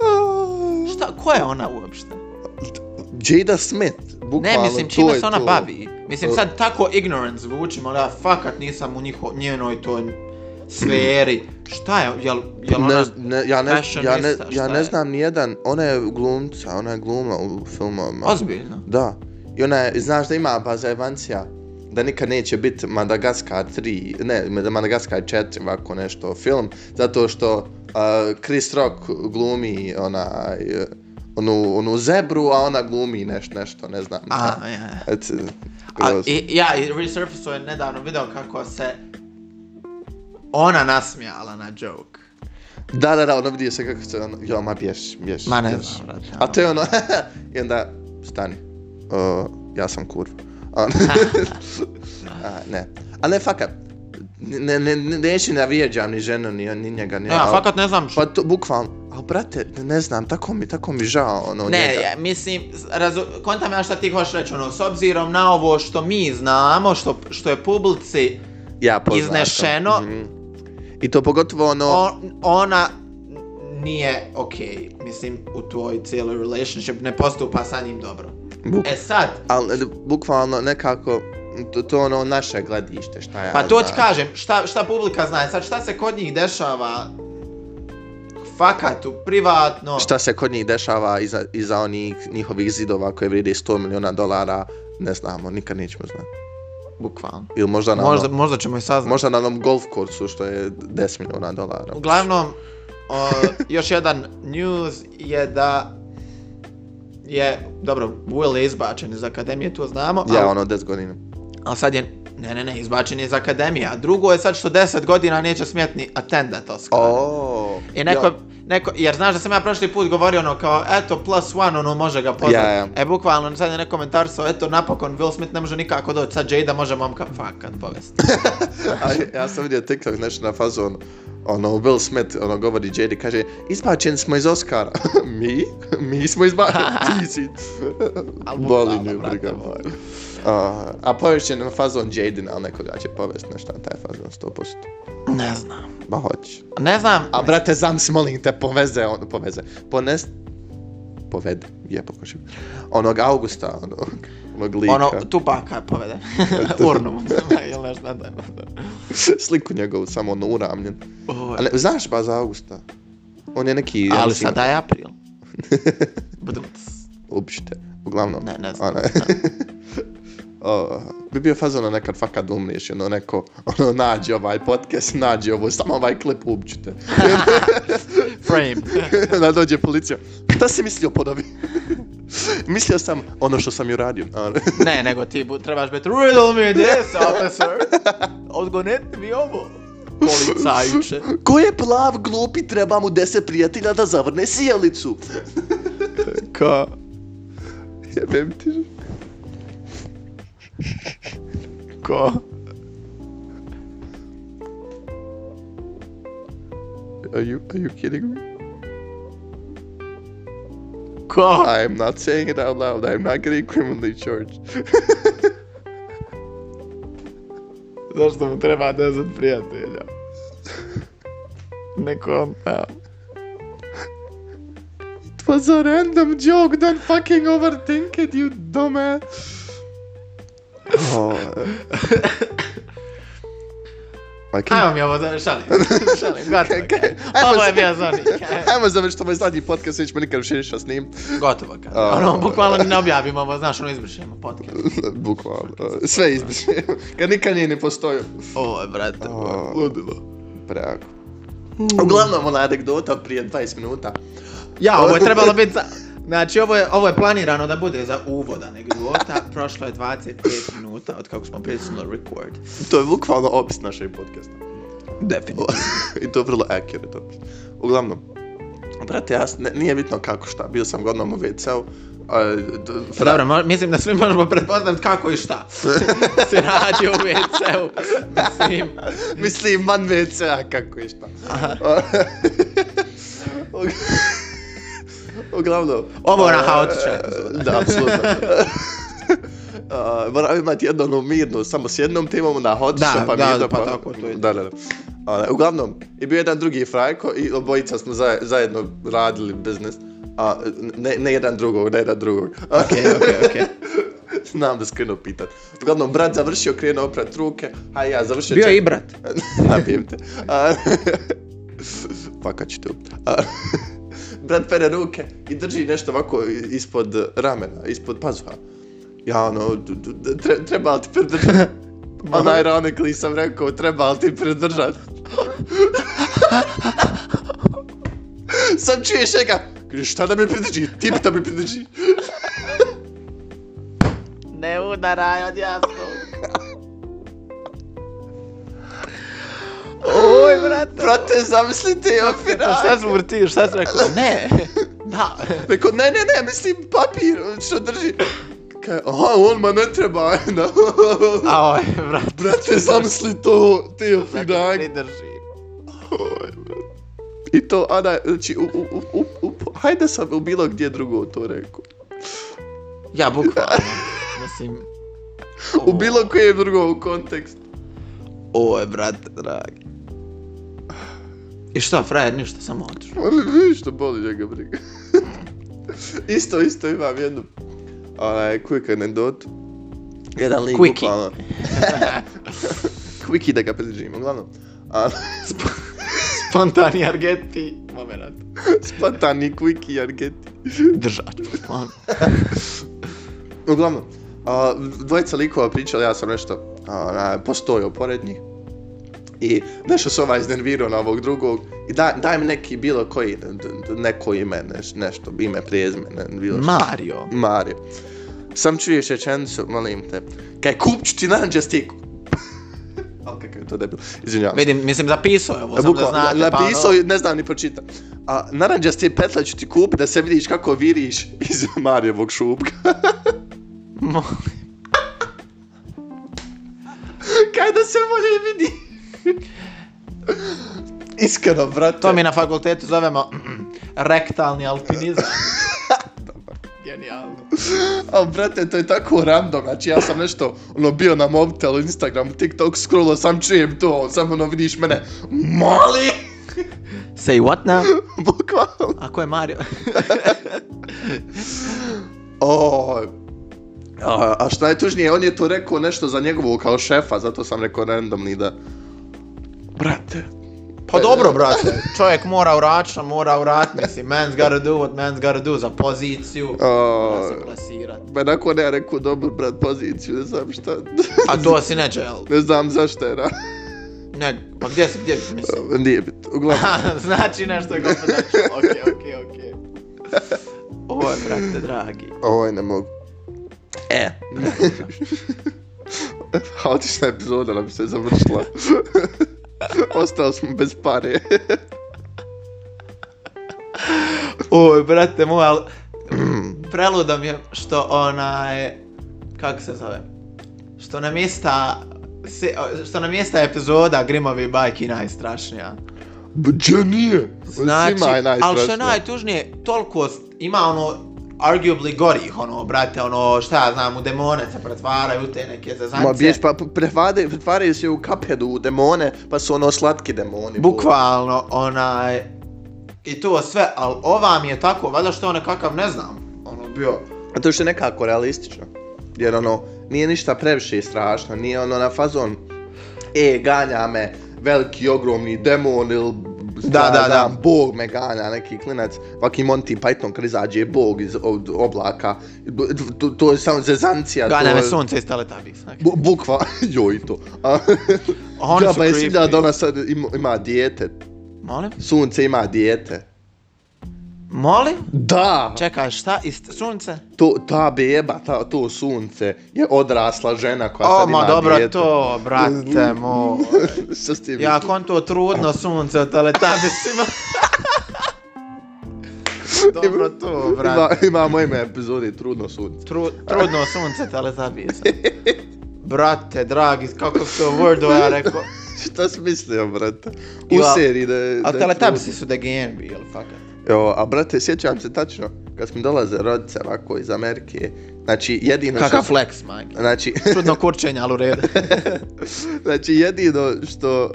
S3: Šta, ko je ona uopšte?
S2: Jada Smith,
S3: Ne,
S2: bukvalno,
S3: mislim,
S2: Pa, to
S3: čime
S2: je
S3: se ona
S2: to.
S3: bavi? Mislim,
S2: To-
S3: sad tako ignorant zvučim, ali ja fakat nisam u njiho, njenoj toj sferi. Šta je, jel, jel ona...
S2: Ne, ne, ja, ne, ja, ne,
S3: fashionista,
S2: ja
S3: šta
S2: ne
S3: je?
S2: znam nijedan, ona je glumca, ona je glumla u filmovima.
S3: Ozbiljno.
S2: Da. I ona je, znaš da ima baza Evancija, da nikad neće biti Madagaskar 3, ne, Madagaskar 4, ovako nešto, film, zato što uh, Chris Rock glumi onaj, eh, onu, onu zebru, a ona glumi neš, nešto, ne znam.
S3: A, ja.
S2: Et,
S3: A, i, ja, i Resurfaceo je nedavno video kako se ona nasmijala na joke.
S2: Da, da, da, ono vidio se kako se ono, jo, ma bješ, bješ.
S3: Ma ne
S2: bješ.
S3: znam, brate,
S2: A
S3: ono.
S2: to je ono, i onda, stani, uh, ja sam kurva. A, a, ne, ali ne, fakat, ne, ne, ne, neću da vrijeđam ni ženu, ni, ni njega, ni...
S3: Ne, ja,
S2: al-
S3: fakat ne znam
S2: Pa to, bukvalno, a brate, ne, ne znam, tako mi, tako mi žao, ono,
S3: Ne,
S2: njega.
S3: ja, mislim, razu, kontam ja šta ti hoćeš reći, ono, s obzirom na ovo što mi znamo, što, što je publici
S2: ja poznatom.
S3: iznešeno.
S2: Mhm. I to pogotovo ono,
S3: on, ona nije okej, mislim, u tvoj cijeloj relationship, ne postupa sa njim dobro.
S2: buk,
S3: E sad,
S2: ali, bukvalno, nekako, to, to ono naše gledište, šta ja
S3: pa to ti
S2: znam.
S3: kažem, šta, šta publika zna, sad šta se kod njih dešava fakat u privatno,
S2: šta se kod njih dešava iza, iza onih njihovih zidova koje vrijede 100 miliona dolara, ne znamo, nikad nećemo znati.
S3: bukvalno.
S2: Ili možda na,
S3: Možda,
S2: onom,
S3: možda ćemo i saznati.
S2: možda na onom golf kursu što je 10 miliona dolara.
S3: Uglavnom, o, još jedan news je da je, dobro, Will je izbačen iz akademije, to znamo,
S2: Ja,
S3: ali-
S2: ono, 10 godina.
S3: ali sad je, ne, ne, ne, izbačen je iz akademije, a drugo je sad što 10 godina neće smetni attendant Oscar.
S2: Oh,
S3: I neko,
S2: ja,
S3: neko, jer znaš da sam ja prošli put govorio ono kao, eto, plus one, ono, može ga pozvati.
S2: Ja, ja.
S3: E, bukvalno, sad je neko komentar sa, eto, napokon, Will Smith ne može nikako doći, sad Jada može momka fakat povesti.
S2: a, ja sam vidio TikTok nešto na fazon, ono, Will Smith, ono, govori Jedi, kaže, izbačeni smo iz Oscara. Mi? Mi smo izbačeni, ti si. Boli
S3: Al bukvalno,
S2: me, briga
S3: brate,
S2: moja. A, a povešće na fazon Jaden, ali nekoga će povesti nešto na taj fazon, 100%.
S3: Ne znam.
S2: Ba hoće.
S3: Ne znam,
S2: A brate, znam si, molim te, poveze, on, poveze, pones, povede, je pokušaj. Onog Augusta, onog, onog lika,
S3: ono,
S2: ono...
S3: Tupaka povede. Urnu. Ili nešto, ne znam.
S2: sliku njegovu, samo ono uramljen.
S3: Oj.
S2: Ali, znaš ba za Augusta? On je neki... ja
S3: Ali
S2: mislim,
S3: sada je april. Budum.
S2: Uopšte, uglavnom.
S3: Ne, ne znam.
S2: Ono, o, bi bio fazon ono nekad fakat umriješ, ono neko, ono nađi ovaj podcast, nađi ovo, samo ovaj klip uopćite.
S3: Frame.
S2: da dođe policija. Šta si mislio podobi? mislio sam ono što sam ono. ju radio.
S3: Ne, nego ti bu, trebaš biti Riddle me this, officer. Odgonetni mi ovo. Policajuće.
S2: Ko je plav glupi treba mu deset prijatelja da zavrne sjelicu?
S3: Ka...
S2: Jebem ti. Ko? Are you, are you kidding me?
S3: Ko?
S2: I am not saying it out loud. I am not getting criminally charged.
S3: Zašto mu treba 10 prijatelja? pa, Ne konta.
S2: it was a random joke. Don't fucking overthink it, you dumbass. Oh. I can't.
S3: Ajmo mi ovo, za- šalim. šalim, gotovo.
S2: Kaj- kaj-
S3: Ovo
S2: završiti-
S3: je bio Zonik.
S2: Ajmo završiti ovaj zadnji podcast, već me nikad više ništa s njim.
S3: Gotovo kad.
S2: A.
S3: Ono, bukvalno ni ne objavimo ovo, znaš, ono izbrišemo podcast.
S2: Bukvalno. Sve izbrišio. Kad nikad nije ne postojao.
S3: Ovo je, brate,
S2: A.
S3: ludilo.
S2: Prejako.
S3: Mm.
S2: Uglavnom, ona anegdota prije 20 minuta.
S3: Ja, ovo je trebalo biti za... Znači, ovo je, ovo je planirano da bude za uvod anegdota. Prošlo je 25 minuta od kako smo pritisnuli record.
S2: To je bukvalno opis našeg podcasta.
S3: Definitivno.
S2: I to je vrlo accurate opis. Uglavnom, brate, ja, s- ne, nije bitno kako šta, bio sam godnom u WC-u, a, d- fra-
S3: Pa Dobro, mo- mislim da svi možemo pretpostaviti kako i šta se radi u WC-u. Mislim,
S2: mislim, van WC-a, kako je šta. Ug- Uglavnom.
S3: Ovo je ona
S2: a,
S3: haotična epizoda.
S2: Da, apsolutno. A, Moramo imati jednu onu mirnu, samo s jednom temom, na haotičnu,
S3: Da,
S2: pa
S3: da,
S2: mirno,
S3: pa tako, to je.
S2: Da, da, da. A, uglavnom, je bio jedan drugi frajko i obojica smo za, zajedno radili biznis. A, ne, ne jedan drugog, ne jedan drugog.
S3: okej, okej, okej.
S2: Znam da skrenuo pitat. Uglavnom, brat završio, krenuo oprat ruke, a ja završio...
S3: Bio
S2: čak-
S3: je i brat.
S2: Napijem te. A, Fakat ću te upt. A, Brat pere ruke i drži nešto ovako i- ispod ramena, ispod pazuha. Ja ono, d- d- d- tre, treba li ti pridržat? On ironically sam rekao, treba li ti pridržat? Sam čuješ njega, kaže šta da mi pridrži, tip da mi pridrži.
S3: Ne udaraj od jasnog. Oj, brate.
S2: Brate, zamislite, ja
S3: A
S2: finale.
S3: šta smo vrtili, šta si rekao? Ne. Da.
S2: Rekao, ne, ne, ne, mislim papir, što drži. Kaj, aha, on ma ne treba, ena.
S3: A oj, brate.
S2: Brate, zamisli to, te
S3: Brate,
S2: ofinak.
S3: pridrži.
S2: I to, Ana, znači, u, u, u, u, u, hajde sam u bilo gdje drugo to rekao.
S3: Ja, bukvalno. Mislim...
S2: U bilo kojem drugom kontekstu.
S3: Oj, brate, dragi. I šta, frajer, ništa, samo otišao.
S2: Ali vidiš što boli njega briga. isto, isto imam jednu. Onaj, quick anegdotu. Jedan link
S3: Quickie.
S2: bukvalno. Quickie da ga predržim, uglavnom. A, sp-
S3: Spontani argeti. Moment.
S2: spontani quickie argeti.
S3: Držač. On.
S2: Uglavnom, a, dvojica likova pričali, ja sam nešto a, postojao pored njih. I nešto se ovaj iznervirao na ovog drugog i da, daj mi neki bilo koji, neko ime, neš, nešto, ime, prijezme, ne, bilo što.
S3: Mario.
S2: Mario. Sam čuješ rečenicu, molim te. Kaj kupću ti nađe stiku. Ali kakav je to debil, izvinjavam. se.
S3: Vidim, mislim, zapisao je ovo, sam da
S2: Bukvalno,
S3: znate. pa
S2: napisao
S3: ono-
S2: i ne znam ni pročita. A naranđasti petla ću ti kupit da se vidiš kako viriš iz Marijevog šupka.
S3: Molim.
S2: Kaj da se bolje vidi? Iskreno, brate.
S3: To mi na fakultetu zovemo mm, rektalni alpinizam. Genijalno.
S2: A, brate, to je tako random. Znači, ja sam nešto, ono, bio na mobitelu, Instagramu, TikTok, scrollao, sam čujem to, samo ono, vidiš mene, mali!
S3: Say what now?
S2: Bukvalno.
S3: A ko je Mario?
S2: O, a, a što najtužnije, on je to rekao nešto za njegovu kao šefa, zato sam rekao randomni da... Brate.
S3: pa dobro, brate. Čovjek mora urača, mora urat, mislim, man's gotta do what man's gotta do za poziciju. Mora
S2: O,
S3: se plasirat.
S2: me nakon ja rekao, dobro, brat, poziciju, ne znam šta...
S3: A to si neđe, jel?
S2: ne znam zašto je ra...
S3: Ne, pa gdje si, gdje si, mislim?
S2: Nije bit, uglavnom.
S3: znači nešto je gospodačno. Okej, okej, okej. Ovo je, brate, dragi.
S2: Ovo je ne mogu. E. Haotična epizoda nam se završila. Ostali smo bez pare.
S3: Oj, brate moj, ali preluda mi je što onaj, kako se zove, što nam jesta se, što nam jesta epizoda Grimovi bajki najstrašnija.
S2: Gdje nije?
S3: Znači,
S2: Svima je
S3: ali što je
S2: najstrašnije.
S3: najtužnije, toliko s- ima ono arguably gorih, ono, brate, ono, šta ja znam, u demone se pretvaraju u te neke zezance.
S2: Ma bijeć, pa pretvaraju, pretvaraju se u kaphedu, u demone, pa su ono slatki demoni.
S3: Bukvalno, onaj, i to sve, ali ova mi je tako, valjda što je on nekakav, ne znam, ono, bio,
S2: A to je što je nekako realistično. Jer ono, nije ništa previše strašno, nije ono na fazon E, ganja me veliki ogromni demon ili
S3: Da, da, da.
S2: Bog me ganja, neki klinac, vaki Monty Python kad izađe Bog iz od oblaka, B- to, to je samo zezancija, to
S3: gane
S2: je...
S3: me sunce iz Teletubbies, znači. neki.
S2: Bu- Bukva, joj to. A,
S3: Oni su
S2: Džaba je silja da
S3: creepy.
S2: ona sad ima, ima dijete,
S3: Molim?
S2: sunce ima dijete.
S3: Molim?
S2: Da,
S3: Čekaj, šta? Ist sunce?
S2: to, ta beba, ta, to sunce je odrasla žena koja
S3: O,
S2: Pa sad ima
S3: ma dobro
S2: dijete.
S3: to, brate moj.
S2: Što ste
S3: Ja konto trudno sunce od teletabisima. dobro to, brate.
S2: Ima, imamo ime epizodi, trudno sunce.
S3: Tru, trudno sunce teletabisa. Brate, dragi, kako se to wordova ja rekao.
S2: Šta si mislio, brate? U
S3: Ima-
S2: seriji da je...
S3: A
S2: da je
S3: teletabisi su da gen bili, fakat.
S2: trudno. Jo, a brate, sjećam se tačno, kad smo dolaze rodice ovako iz Amerike, znači jedino
S3: Kakav
S2: što...
S3: flex, majke.
S2: Znači,
S3: Trudno kurčenje, ali u redu.
S2: znači jedino što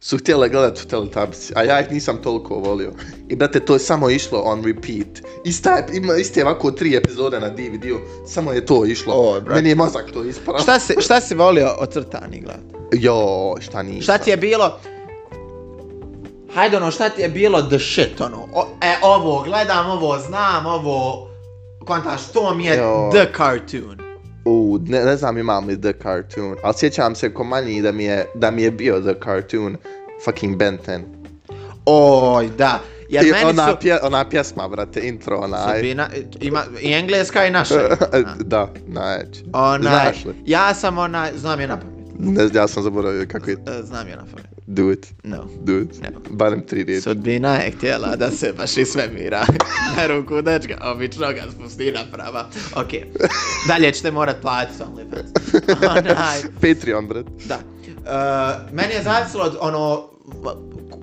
S2: su htjele gledat u Teletubbies, a ja ih nisam toliko volio. I brate, to je samo išlo on repeat. Ista, ima iste ovako tri epizode na DVD-u, samo je to išlo.
S3: Oj, brate.
S2: Meni je mozak to ispravo.
S3: Šta si, šta si volio od crtanih gleda?
S2: Jo, šta nisam.
S3: Šta ti je bilo? Hajde ono, šta ti je bilo the shit, ono, o, e, ovo gledam, ovo znam, ovo, kontaš, to mi je
S2: Jo.
S3: the cartoon.
S2: U, ne, ne znam imam li The Cartoon, ali sjećam se ko manji da mi je, da mi je bio The Cartoon, fucking Ben 10.
S3: Oj, da, jer
S2: I
S3: meni
S2: ona,
S3: su...
S2: pje, ona pjesma, brate, intro, onaj.
S3: Sudbina, ima, i engleska i naša. Ona,
S2: da, najeć.
S3: onaj,
S2: Znaš li?
S3: ja sam ona, znam je na pamet.
S2: Ne znam, ja sam zaboravio kako je.
S3: E, Znam je na pamet.
S2: Do it,
S3: No.
S2: do it.
S3: Evo.
S2: Barem tri riječi.
S3: Sudbina je htjela da se baš i sve mira. Na ruku dečka, obično ga spusti na prava. Okej. Dalje ćete morat platiti OnlyFans. Onaj,
S2: Patreon, brate.
S3: da. Uh, meni je zavisilo od ono,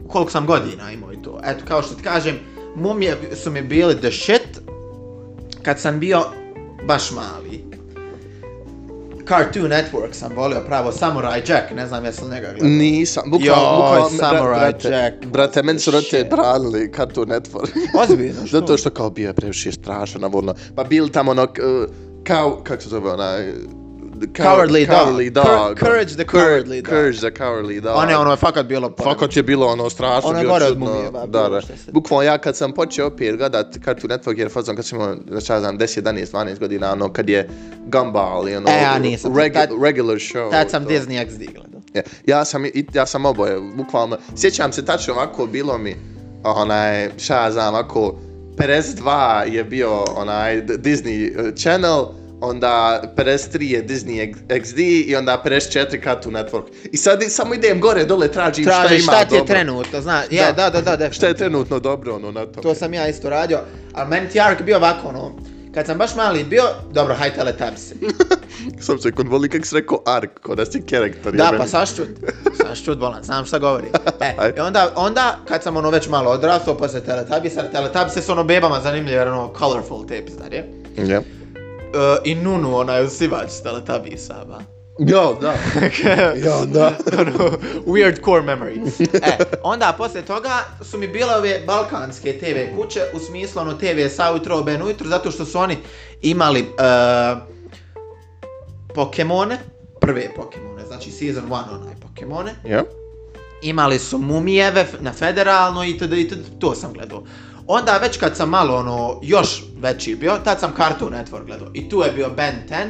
S3: koliko sam godina imao i to. Eto, kao što ti kažem, mumije su mi bili the shit kad sam bio baš mali. Cartoon Network sam volio pravo Samurai Jack, ne znam jesi li njega gledao.
S2: Mm. Nisam,
S3: Joj,
S2: bukvalno, bukvalno, bra-
S3: Samurai
S2: brate,
S3: Jack,
S2: brate, meni su roditelji
S3: shit.
S2: branili Cartoon Network.
S3: Ozbiljno, što?
S2: Zato što kao bio je previše strašan, a volno. Pa bili tamo ono, k- eh, kao, kako se zove onaj... uh, kao-
S3: Cowardly Dog.
S2: Cowardly dog.
S3: Cour- Courage the Cowardly Dog.
S2: Courage the Cowardly Dog.
S3: One, ono je fakat bilo poremećaj.
S2: Fakat je bilo ono strašno,
S3: Ono je
S2: bilo
S3: gore od
S2: čudno.
S3: mumije, ba,
S2: da,
S3: bilo
S2: da.
S3: šta se-
S2: Bukvalno ja kad sam počeo opet gledat Cartoon Network, jer fazon kad sam imao, znači ja znam, 10, 11, 12 godina, ono, kad je Gumball i ono,
S3: E, ja nisam.
S2: regu-
S3: Tad-
S2: regular show.
S3: Tad sam
S2: to.
S3: Disney XD gledao.
S2: Ja, ja sam, i- ja sam oboje, bukvalno, sjećam se tačno ovako, bilo mi, onaj, šta ja znam, ovako, 52 je bio onaj D- Disney eh, Channel, onda 53 je Disney X- XD i onda 54 Cartoon Network. I sad i- samo idem gore, dole, tražim šta
S3: Traži
S2: ima
S3: šta ti je
S2: dobro.
S3: trenutno, zna, je, da, da, da, da.
S2: Šta je trenutno dobro, ono, na to.
S3: To sam ja isto radio, ali meni ti Ark bio ovako, ono, kad sam baš mali bio, dobro, haj Teletubbies.
S2: Sam se kod voli kak si rekao ark, kod da si karakter.
S3: Da,
S2: jebeni.
S3: pa sašćut, sašćut bolan, znam šta govori. E,
S2: Aj.
S3: i onda, onda, kad sam ono već malo odrastao, posle Teletubbies, jer Teletubbies su ono bebama zanimljive, jer ono, colorful tapes, zar je?
S2: Ja.
S3: E, I Nunu, onaj usivač iz Teletubbiesa, ba.
S2: Jo, da. Jo, da.
S3: ono, weird core memories. E, onda posle toga su mi bile ove balkanske TV kuće, u smislu ono TV sa utro, ben ujutro, zato što su oni imali uh, Pokemone, prve Pokemone, znači season 1 onaj Pokemone,
S2: Ja.
S3: imali su mumijeve f- na federalno itd. itd. to sam gledao. Onda već kad sam malo ono, još veći bio, tad sam Cartoon Network gledao i tu je bio Ben 10,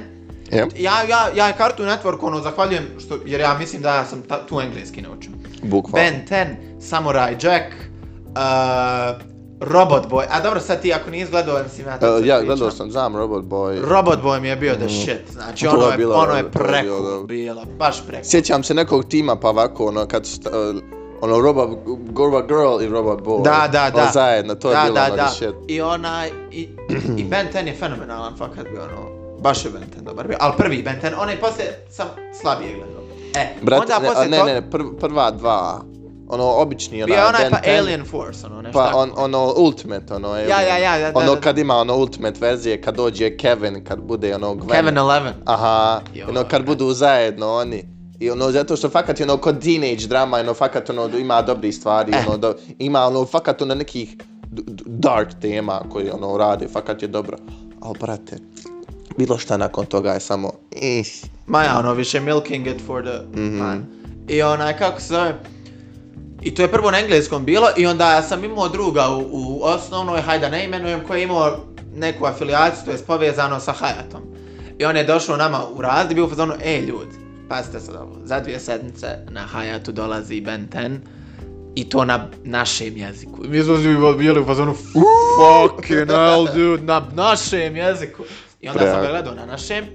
S2: Ja.
S3: ja, ja, ja Cartoon Network ono zahvaljujem što, jer ja mislim da ja sam ta, tu engleski naučio.
S2: Bukvalno.
S3: Ben 10, Samurai Jack, uh, Robot Boy, a dobro sad ti ako nisi gledao, mislim ja to
S2: Uh,
S3: sad
S2: ja,
S3: pričam.
S2: gledao sam, znam Robot Boy.
S3: Robot Boy mi je bio the shit, znači
S2: To
S3: ono
S2: je
S3: je,
S2: bilo
S3: ono je
S2: dobro, to je bilo
S3: preko
S2: dobro.
S3: bilo, baš preko.
S2: Sjećam se nekog tima pa ovako ono kad st, uh, ono Robot, Robot Girl i Robot Boy.
S3: Da, da, da.
S2: Ono zajedno, to je
S3: da,
S2: bilo
S3: da,
S2: ono
S3: da.
S2: shit.
S3: I onaj, i, i Ben 10 je fenomenalan, fakat bi ono, baš je Benten dobar bio, ali prvi Benten, onaj poslije sam slabije gledao. E,
S2: Brate,
S3: onda
S2: ne, a,
S3: poslije
S2: ne,
S3: to,
S2: ne, prv, prva dva, ono, obični, onaj,
S3: bio je onaj
S2: Ben
S3: pa
S2: 10,
S3: Alien Force, ono nešto.
S2: pa
S3: tako.
S2: on, ono, Ultimate, ono, Alien.
S3: ja, ja, ja, da, da,
S2: ono,
S3: da.
S2: kad ima, ono, Ultimate verzije, kad dođe Kevin, kad bude, ono, Gwen.
S3: Kevin Eleven.
S2: Aha,
S3: Joj.
S2: ono, kad budu zajedno oni. I ono, zato što fakat je ono kod teenage drama, ono, fakat ono, ima dobri stvari,
S3: Eh.
S2: ono, do, ima ono, fakat ono nekih d- d- dark tema koje ono rade, fakat je dobro. Al, brate, bilo šta nakon toga je samo, ih,
S3: Ma ja, ono, više milking it for the
S2: Mhm.
S3: man. I onaj, kako se zove, I to je prvo na engleskom bilo i onda ja sam imao druga u, u osnovnoj, hajde da ne imenujem, koji je imao neku afilijaciju, to je povezano sa Hayatom. I on je došao nama u razred i bio u fazonu, e ljudi, pazite sad ovo, za dvije sedmice na Hayatu dolazi Ben 10 i to na našem jeziku. I Mi smo svi bili u fazonu, fucking hell dude, na našem jeziku. I onda sam ga
S2: Preak.
S3: gledao na našem.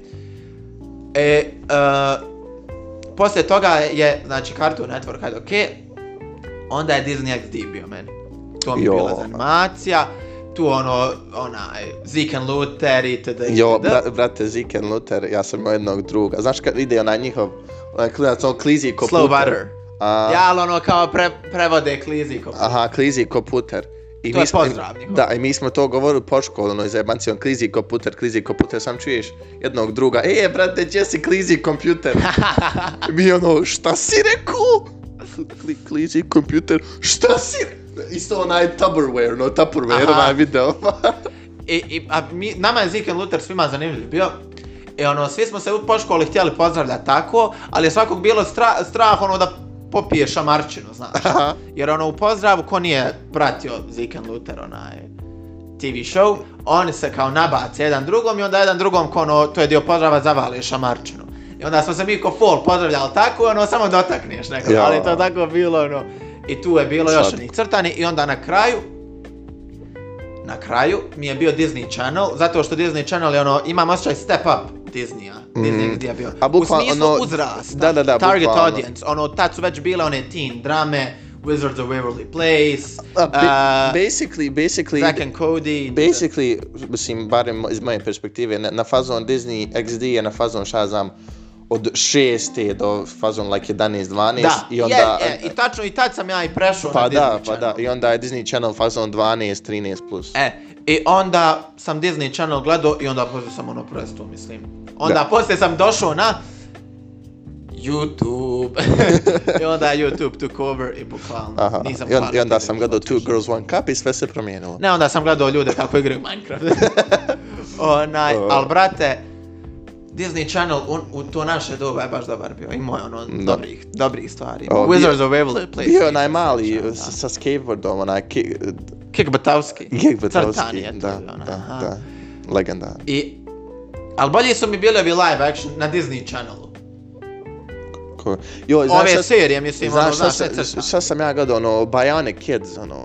S3: E, uh, poslije toga je, znači, Cartoon Network, hajde, okej, onda je Disney XD bio meni. To mi je
S2: Jo.
S3: bila animacija, tu ono, onaj, Zeke and Luther i td. i
S2: Jo,
S3: td.
S2: bra, brate, Ziken Luther, ja sam imao jednog druga. Znaš kad ide onaj njihov, onaj klinac, on klizi ko
S3: Slow
S2: puter.
S3: butter.
S2: A,
S3: Ja, ali ono kao pre, prevode klizi ko
S2: Aha, klizi ko puter. I
S3: To je
S2: smo-
S3: pozdrav njihov.
S2: Da, i mi smo to govorili po školu, ono, zajebanci, on klizi ko puter, klizi ko puter, sam čuješ jednog druga, e, brate, gdje si klizi kompjuter? mi ono, šta si rekao? Kli, klizi kompjuter, šta si re-" Isto onaj Tupperware, no, Tupperware,
S3: Aha.
S2: onaj video.
S3: I, i, a mi, nama je Zeke and Luther svima zanimljiv bio. I ono, svi smo se u po školi htjeli pozdravljati tako, ali je svakog bilo stra, strah ono da popije šamarčinu, znaš.
S2: Aha.
S3: Jer ono, u pozdravu, ko nije pratio Zeke and Luther, onaj TV show, oni se kao nabace jedan drugom i onda jedan drugom, ko ono, to je dio pozdrava, zavali šamarčinu. I onda smo se mi ko fol pozdravljali tako, ono, samo dotakneš nekog,
S2: Ja.
S3: ali to tako bilo, ono. I tu je bilo još
S2: Slatko.
S3: onih crtani i onda na kraju, na kraju mi je bio Disney Channel, zato što Disney Channel je ono, imam osjećaj step up Disneya, Disney gdje je bio.
S2: Mhm. A bukvalno,
S3: U smislu
S2: ono,
S3: uzrasta,
S2: da, da, da,
S3: target
S2: bukvalno.
S3: audience, ono, tad su već bile one teen drame, Wizards of Waverly Place,
S2: A,
S3: uh,
S2: ba- basically, basically,
S3: Zack and Cody,
S2: basically, mislim, barem iz moje perspektive, na, na fazon Disney XD je na fazon, šta ja znam, od šeste do fazon like 11, 12
S3: da,
S2: i onda...
S3: je, je, i tačno, i tad sam ja i prešao na
S2: pa
S3: Disney
S2: da, pa
S3: Channel.
S2: da, i onda je Disney Channel fazon 12, 13 plus.
S3: E, i onda sam Disney Channel gledao i onda poslije sam ono prestao, mislim. Onda
S2: Da.
S3: poslije sam došao na YouTube. I onda je YouTube took over i bukvalno
S2: Aha,
S3: nisam
S2: I, on,
S3: stvarno
S2: i onda
S3: htio
S2: sam
S3: da
S2: gledao Two
S3: otišao.
S2: Girls One Cup i sve se promijenilo.
S3: Ne, onda sam gledao ljude kako igraju Minecraft. Onaj,
S2: O.
S3: al brate, Disney Channel un, u to naše doba je baš dobar bio. Imao je ono
S2: Da.
S3: dobrih, dobrih stvari.
S2: O, bio-
S3: Wizards of Waverly Place.
S2: Bio je onaj
S3: Disney
S2: mali
S3: Channel, da.
S2: sa, sa skateboardom, onaj ki,
S3: Kick Batavski.
S2: Gig Batavski,
S3: Crtan je to,
S2: da,
S3: ono,
S2: da,
S3: aha.
S2: da, legenda.
S3: I... Al bolji su mi bili ovi live action na Disney Channelu.
S2: Ko... Jo, znaš
S3: Ove
S2: šta-
S3: serije, mislim, ono,
S2: Znaš šta,
S3: znaš, ne
S2: sam,
S3: crtam.
S2: šta sam ja gledao, ono, Bionic Kids, ono...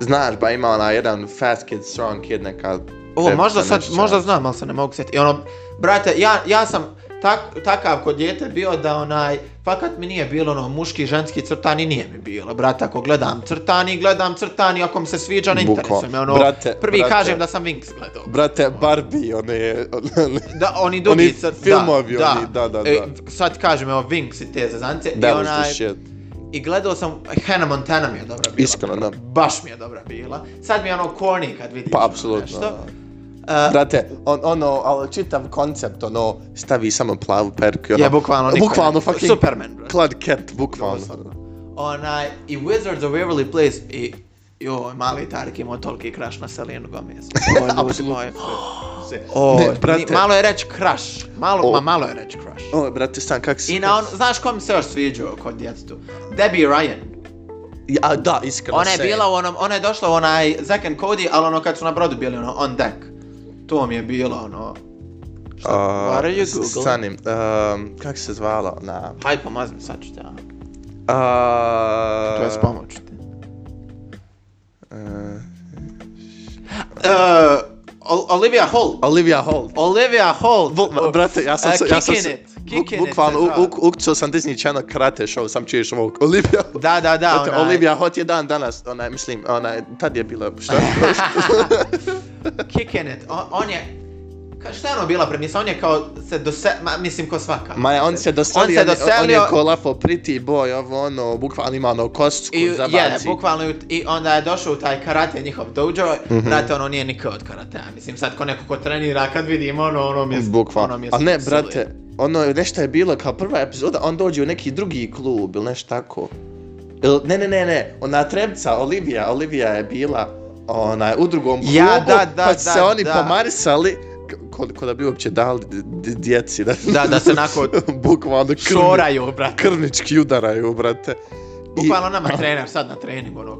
S2: Znaš, ba ima ona jedan Fast Kid, Strong Kid, neka...
S3: Ovo,
S2: prepica,
S3: možda sad,
S2: nešto.
S3: možda znam, ali se ne mogu sjetiti. I ono, brate, ja, ja sam tak, takav kod djete bio da onaj, fakat mi nije bilo ono muški, ženski crtani, nije mi bilo, brate, ako gledam crtani, gledam crtani, ako mi se sviđa, ne
S2: Bukvalno.
S3: interesuje me, ono,
S2: Brate,
S3: prvi
S2: brate.
S3: kažem da sam Winx gledao.
S2: Brate, Barbie, one je... one-
S3: Da, oni drugi
S2: Oni
S3: crt-
S2: filmovi, oni, da, da,
S3: E,
S2: da.
S3: sad kažem, evo, Winx i te zazance, i
S2: That was
S3: onaj,
S2: the shit.
S3: I gledao sam, Hannah Montana mi je dobra bila.
S2: Iskreno, da.
S3: Baš mi je dobra bila. Sad mi je ono corny kad vidim
S2: Pa,
S3: ono
S2: apsolutno.
S3: nešto.
S2: da.
S3: Uh,
S2: Brate, on, ono, ali čitav koncept, ono, stavi samo plavu perku i ono...
S3: Je, bukvalno, niko
S2: Bukvalno,
S3: ne-
S2: fucking...
S3: Superman, brate.
S2: Clad Cat, bukvalno.
S3: Doslovno. onaj, i Wizards of Waverly Place i Joj, mali Tarik imao toliki kraš na Selenu Gomez. O, ljudi moji. O,
S2: Ne, brate.
S3: ni- malo je reći kraš. Malo,
S2: O.
S3: ma malo je reći kraš.
S2: O, brate, stan, kak si...
S3: I na on, znaš ko mi se još sviđao kod djetetu? Debbie Ryan.
S2: Ja, da, iskreno,
S3: Ona je
S2: same.
S3: bila u onom, ona je došla u onaj Zack and Cody, ali ono kad su na brodu bili ono on deck. To mi je bilo ono... Šta?
S2: Uh,
S3: What are you Google?
S2: Stani, um, kak se zvala ona?
S3: Hajde pomazim, sad ću te, ono. a.
S2: Uh,
S3: To je s pomoću te.
S2: Uh,
S3: Uh, Ol- Olivia Holt.
S2: E, Olivia Holt.
S3: Olivia Holt.
S2: Bu, brate, ja sam,
S3: E,
S2: se, ja sam
S3: Kick
S2: se,
S3: in it,
S2: bu-
S3: kick in it
S2: bukvalno,
S3: se
S2: u-
S3: zvala.
S2: u- ukćao sam Disney Channel karate show, sam čuješ ovog, Olivia Holt.
S3: Da, da, da,
S2: Brate,
S3: onaj.
S2: Olivia Holt je dan danas, onaj, mislim, onaj, tad je bila, šta?
S3: Kick in it. On, on je... Ka, šta je ono bila premisa? On je kao se dose... Ma, mislim, ko svaka.
S2: Ma ja, on se doselio,
S3: se
S2: on, se doselio... on je
S3: doselio-
S2: ko lafo pretty boy, ovo ono, bukvalno ima ono kostku
S3: I,
S2: za
S3: je,
S2: baci.
S3: bukvalno, i- i onda je došao u taj karate njihov dojo,
S2: Mhm.
S3: brate, ono nije niko od karatea. Mislim, sad ko neko ko trenira, kad vidim ono, ono mi je...
S2: Bukvalno.
S3: ono mi je
S2: Ali ne,
S3: siluje.
S2: brate, ono, nešto je bilo kao prva epizoda, on dođe u neki drugi klub ili nešto tako. Il, ne, ne, ne, ne, ona trebca, Olivia, Olivia je bila onaj, u drugom klubu,
S3: Ja, da, da,
S2: pa su se
S3: da,
S2: oni
S3: da.
S2: pomarisali, k- koliko da bi uopće dali d- d- djeci. Da,
S3: Da, da se onako
S2: bukvalno krvni,
S3: šoraju, brate.
S2: krvnički udaraju, brate.
S3: Bukvalno nama trener sad na treningu, ono,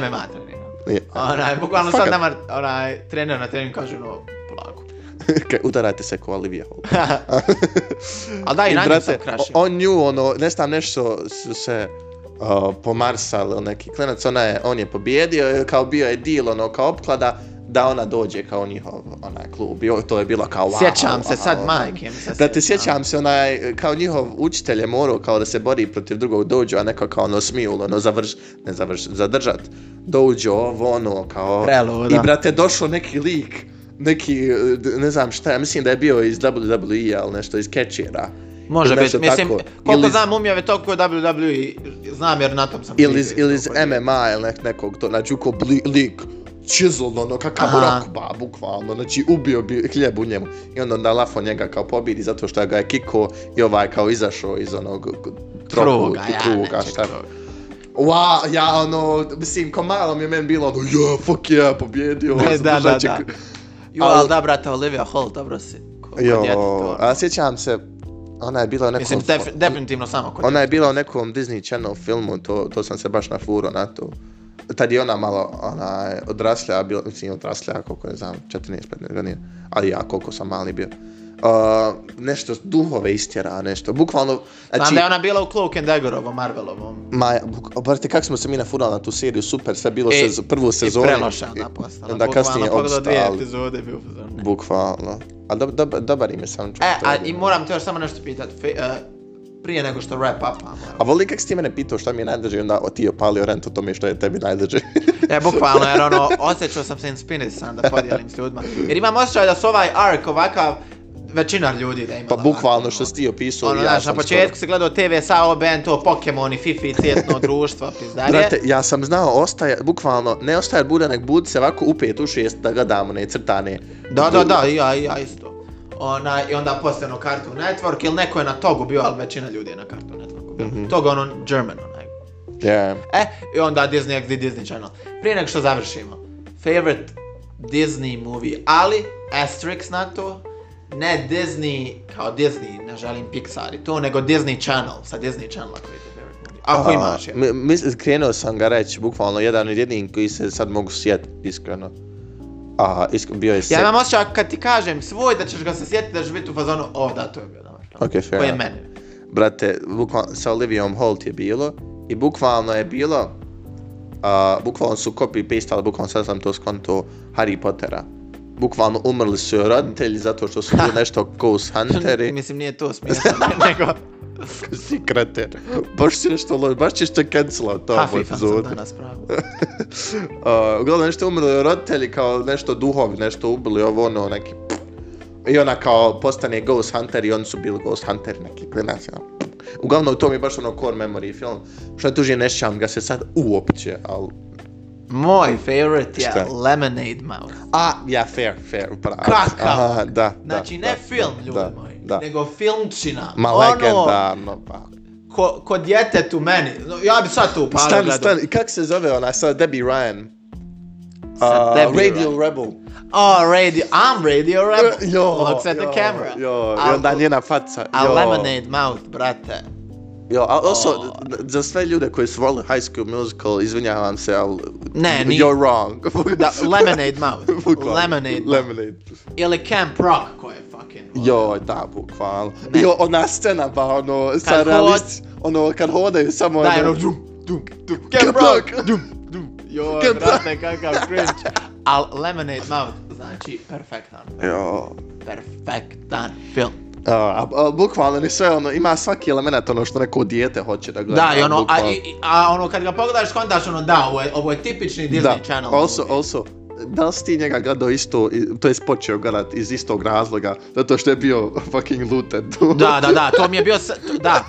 S3: MMA trener.
S2: I,
S3: Onaj, bukvalno
S2: Fakat.
S3: sad nama, onaj, trener na treningu kaže, ono, polako.
S2: Kaj, udarajte se ko Olivia Holt.
S3: Ali da, i
S2: I,
S3: na njim sam
S2: brate,
S3: krašio.
S2: on nju, ono, ne znam, nešto su se uh, pomarsali, ili neki klinac, ona je, on je pobjedio, kao bio je deal, ono, kao opklada, da ona dođe kao njihov, onaj, klub. I to je bilo kao, wow,
S3: Sjećam se
S2: wow,
S3: sad
S2: wow.
S3: majke. mi se
S2: Da te sjećam se, onaj, kao njihov učitelj je morao kao da se bori protiv drugog dođu, a neko kao ono smijul, ono završ, ne završ, zadržat dođu ovo, ono, kao...
S3: Preluda.
S2: I brate, došao neki lik, neki, eh, d- ne znam šta, ja mislim da je bio iz WWE, ali nešto iz Catchera.
S3: Može
S2: ili nešto
S3: biti, mislim,
S2: tako.
S3: koliko
S2: Ili iz-
S3: znam umjave toliko je WWE, E, znam jer na tom sam.
S2: Ili iz,
S3: živio,
S2: ili iz
S3: tako da.
S2: MMA ili nek, nekog to, znači uko bli, lik, chiseled, ono, kakav
S3: Aha.
S2: rokba, bukvalno, znači ubio bi hljeb u njemu. I onda na lafo njega kao pobidi zato što ga je kiko i ovaj kao izašao iz onog troku,
S3: Kruga,
S2: i
S3: ja,
S2: kruga,
S3: neće
S2: šta je.
S3: kruga.
S2: Wow, ja ono, mislim, ko malo mi je meni bilo ono, ja, fuck yeah, pobjedio, znači,
S3: Ne, E, da, da,
S2: zadržat će
S3: da.
S2: kru-
S3: Jo,
S2: Al-
S3: ali da, brate, Olivia Holt, dobro si. Ko- ko
S2: Jo,
S3: djete to.
S2: a sjećam se, ona je bila u nekom...
S3: Mislim, def- definitivno samo kod
S2: Ona je bila u nekom Disney Channel filmu, to, to sam se baš nafuro na to. Tad je ona malo ona, odraslja, bila, mislim odraslja, koliko ne znam, 14-15 godina, ali ja koliko sam mali bio. Uh, nešto duhove istjera, nešto, bukvalno,
S3: Znam
S2: znači,
S3: da je ona bila u Cloak and Daggerovom, Marvelovom.
S2: ma, buk, brate, kako smo se mi nafurali na tu seriju, super, sve bilo
S3: E,
S2: se, prvu sezonu,
S3: I preloša ona postala.
S2: onda kasnije
S3: Bukvalno pogledao dvije
S2: opstali,
S3: epizode, bio fazon.
S2: bukvalno. A dob, dob, dobar im je soundtrack.
S3: E,
S2: to je
S3: a i
S2: bilo.
S3: moram ti još samo nešto pitat, fe, e, prije nego što wrap upamo.
S2: A voli kak si ti mene pitao šta mi je najdraže, onda o, ti je opalio rent o tome što je tebi najdraže.
S3: E, bukvalno, jer ono, osjećao sam se inspirisan da podijelim s ljudima. Jer imam osjećaj da su ovaj arc ovakav većina ljudi da ima.
S2: Pa
S3: ovakav,
S2: bukvalno
S3: ono.
S2: što si ti opisao,
S3: Ono,
S2: ja
S3: znaš, na
S2: sam
S3: početku
S2: skoro-
S3: si gledao TV, SAO, Bento, Pokemoni, Fifi, cjetno društvo, pizdarje.
S2: Brate, ja sam znao ostaje, bukvalno, ne ostaje bude, nek budi se ovako u pet, u šest, da ga damo, ne crtane.
S3: Da, da, da, i ja, i ja isto. Ona, I onda poslije ono Cartoon Network, ili neko je na Togu bio, ali većina ljudi je na Cartoon Networku bio.
S2: Mhm.
S3: Toga ono, German onaj.
S2: Yeah.
S3: E, i onda Disney XD Disney Channel. Prije nego što završimo, favorite Disney movie, ali asterisk na to, ne Disney, kao Disney, ne želim Pixar i to, nego Disney Channel, sa Disney Channela koji ti je favorite movie. Ako Pa, imaš je.
S2: mi, mis- krenuo sam ga reći, bukvalno, jedan od jedin koji se sad mogu sjetiti, iskreno. A, isk, bio je
S3: Ja
S2: set.
S3: imam osjećaj kad ti kažem svoj da ćeš ga se sjetiti da ćeš biti u fazonu, o da, to je bio dobar.
S2: Ok, fair
S3: Koji je
S2: enough.
S3: meni.
S2: Brate, bukvalno, sa Olivijom Holt je bilo, i bukvalno je bilo, a, bukvalno su copy paste, ali bukvalno sad sam to skonto Harry Pottera. Bukvalno umrli su joj roditelji zato što su bili nešto ghost hunteri.
S3: Mislim, nije to smiješno, nego...
S2: si kreter. Baš si nešto loš, baš ćeš te cancelat to ovu
S3: Hafifan sam
S2: epizodu.
S3: danas pravo.
S2: Uh, uglavnom nešto umrli roditelji kao nešto duhovi, nešto ubili ovo ono neki pff. I ona kao postane Ghost Hunter i oni su bili Ghost Hunter neki klinac. Ja. Uglavnom to mi je baš ono core memory film. Što je tužnije ne sjećam ga se sad uopće, ali...
S3: Moj favorite je
S2: Šta?
S3: Lemonade Mouth.
S2: A, ja, fair, fair, upravo.
S3: Kakav?
S2: Aha, da,
S3: Znači,
S2: da,
S3: ne
S2: da,
S3: film,
S2: da,
S3: ljudi
S2: da,
S3: moji,
S2: Da.
S3: nego filmčina.
S2: Ma
S3: ono,
S2: legendarno, pa.
S3: ko, ko djetetu meni. No, ja bi sad to upalio
S2: Stani,
S3: gledao.
S2: stani, kak se zove ona sa Debbie Ryan?
S3: Sa
S2: Uh,
S3: Debbie
S2: Radio Rebel.
S3: Oh, radio, I'm radio rebel.
S2: Jo,
S3: Looks at
S2: jo,
S3: the camera.
S2: Jo, i
S3: Al-
S2: onda njena faca.
S3: A
S2: jo.
S3: Lemonade Mouth, brate.
S2: Jo, a also,
S3: Oh.
S2: za sve ljude koji su volili High School Musical, izvinjavam se, ali...
S3: Ne, ni-
S2: You're wrong.
S3: Da, Lemonade Mouth.
S2: Bukvalno.
S3: Lemonade Mouth.
S2: Lemonade.
S3: Ili Camp Rock, koje je fucking...
S2: Jo, da, bukvalno.
S3: Ne.
S2: Jo, ona scena, ba, ono, sa
S3: Kad
S2: realist... Ono, kad hodaju samo...
S3: Da,
S2: ono-
S3: ono, dum, dum, dum,
S2: Camp
S3: Camp
S2: Rock.
S3: Rock, dum, dum. Joj,
S2: Camp
S3: brate, kakav cringe. Al Lemonade Mouth, znači, perfektan,
S2: Jo.
S3: perfektan film.
S2: A, a, bukvalno, ni sve, ono, ima svaki element, ono, što neko dijete hoće da gleda.
S3: Da, i ono, a,
S2: bukvalno.
S3: i, i- a ono kad ga pogledaš kontaš ono da, ovo je, ovo je tipični Disney
S2: da,
S3: Channel.
S2: Also,
S3: movie.
S2: also, da li si ti njega gledao isto, i- to je počeo gledat iz istog razloga, zato što je bio fucking looted.
S3: Da, da, da, to mi je bio, s- to- da,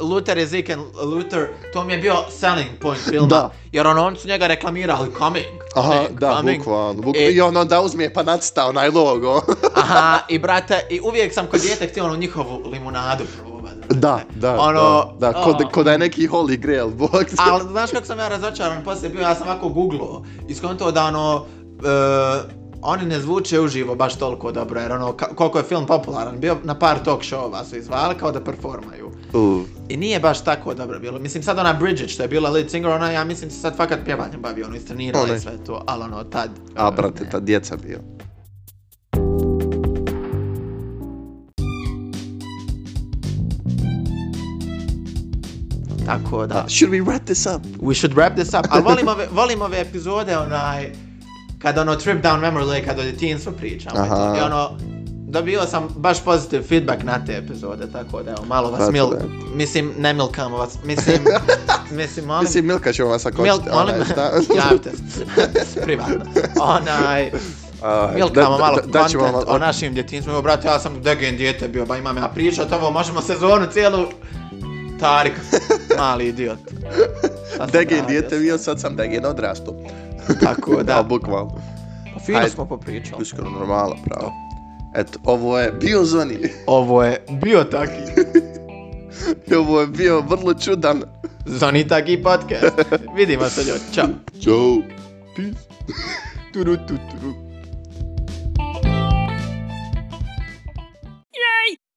S3: Luther is Zeke and Luther, to mi je bio selling point filma,
S2: Da.
S3: jer ono, oni su njega reklamirali, coming,
S2: Aha,
S3: coming,
S2: da,
S3: coming.
S2: bukvalno. Buk...
S3: E-
S2: I on onda uzme pa nacita onaj logo.
S3: Aha, i brate, i uvijek sam kod djete htio ono njihovu limunadu probati. brate.
S2: da, da,
S3: Ono,
S2: da, da, kod,
S3: a.
S2: kod da je neki holy grail, bok.
S3: Ali znaš kako sam ja razočaran poslije bio, ja sam ovako googlao i skonto da ono, e, oni ne zvuče uživo baš toliko dobro, jer ono, ka, koliko je film popularan, bio na par talk showova su izvali kao da performaju.
S2: Uh,
S3: I nije baš tako dobro bilo. Mislim sad ona Bridget što je bila lead singer, ona ja mislim se sad fakat pjevanjem bavi, ono istrenirala
S2: Ona
S3: i
S2: je.
S3: sve to, ali ono tad...
S2: a,
S3: ono,
S2: brate,
S3: ne.
S2: ta djeca bio.
S3: Tako da...
S2: Should we wrap this up?
S3: We should wrap this up. Ali volim ove, volim ove epizode, onaj, kada ono trip down memory lane, kada o djetinjstvu pričamo. i to.
S2: Aha.
S3: I ono, dobio sam baš pozitiv feedback na te epizode, tako da evo, malo vas
S2: Brate,
S3: mil...
S2: brate.
S3: Mislim, ne milkamo vas, mislim, mislim, molim...
S2: Mislim, Milka ćemo vas ako
S3: Milk, molim, javite se, privatno. Onaj,
S2: A,
S3: milkamo malo
S2: da, da, ćemo
S3: content
S2: vam,
S3: o našim djetinjstvima. Evo, brate, ja sam degen dijete bio, ba imam ja pričat ovo, možemo sezonu cijelu... Tarik, mali idiot. Šta sam
S2: Degen
S3: radio
S2: dijete
S3: sad?
S2: bio, sad sam Degen odrastao.
S3: Tako da.
S2: Da, bukvalno.
S3: Pa Fino
S2: Hajde.
S3: smo popričali.
S2: Uskoro normala, pravo. Eto, ovo je bio Zoni.
S3: Ovo je bio taki.
S2: I ovo je bio vrlo čudan.
S3: Zoni taki podcast. Vidimo se ljudi. Ćao.
S2: Ćao. Peace. Turu, turu, turu.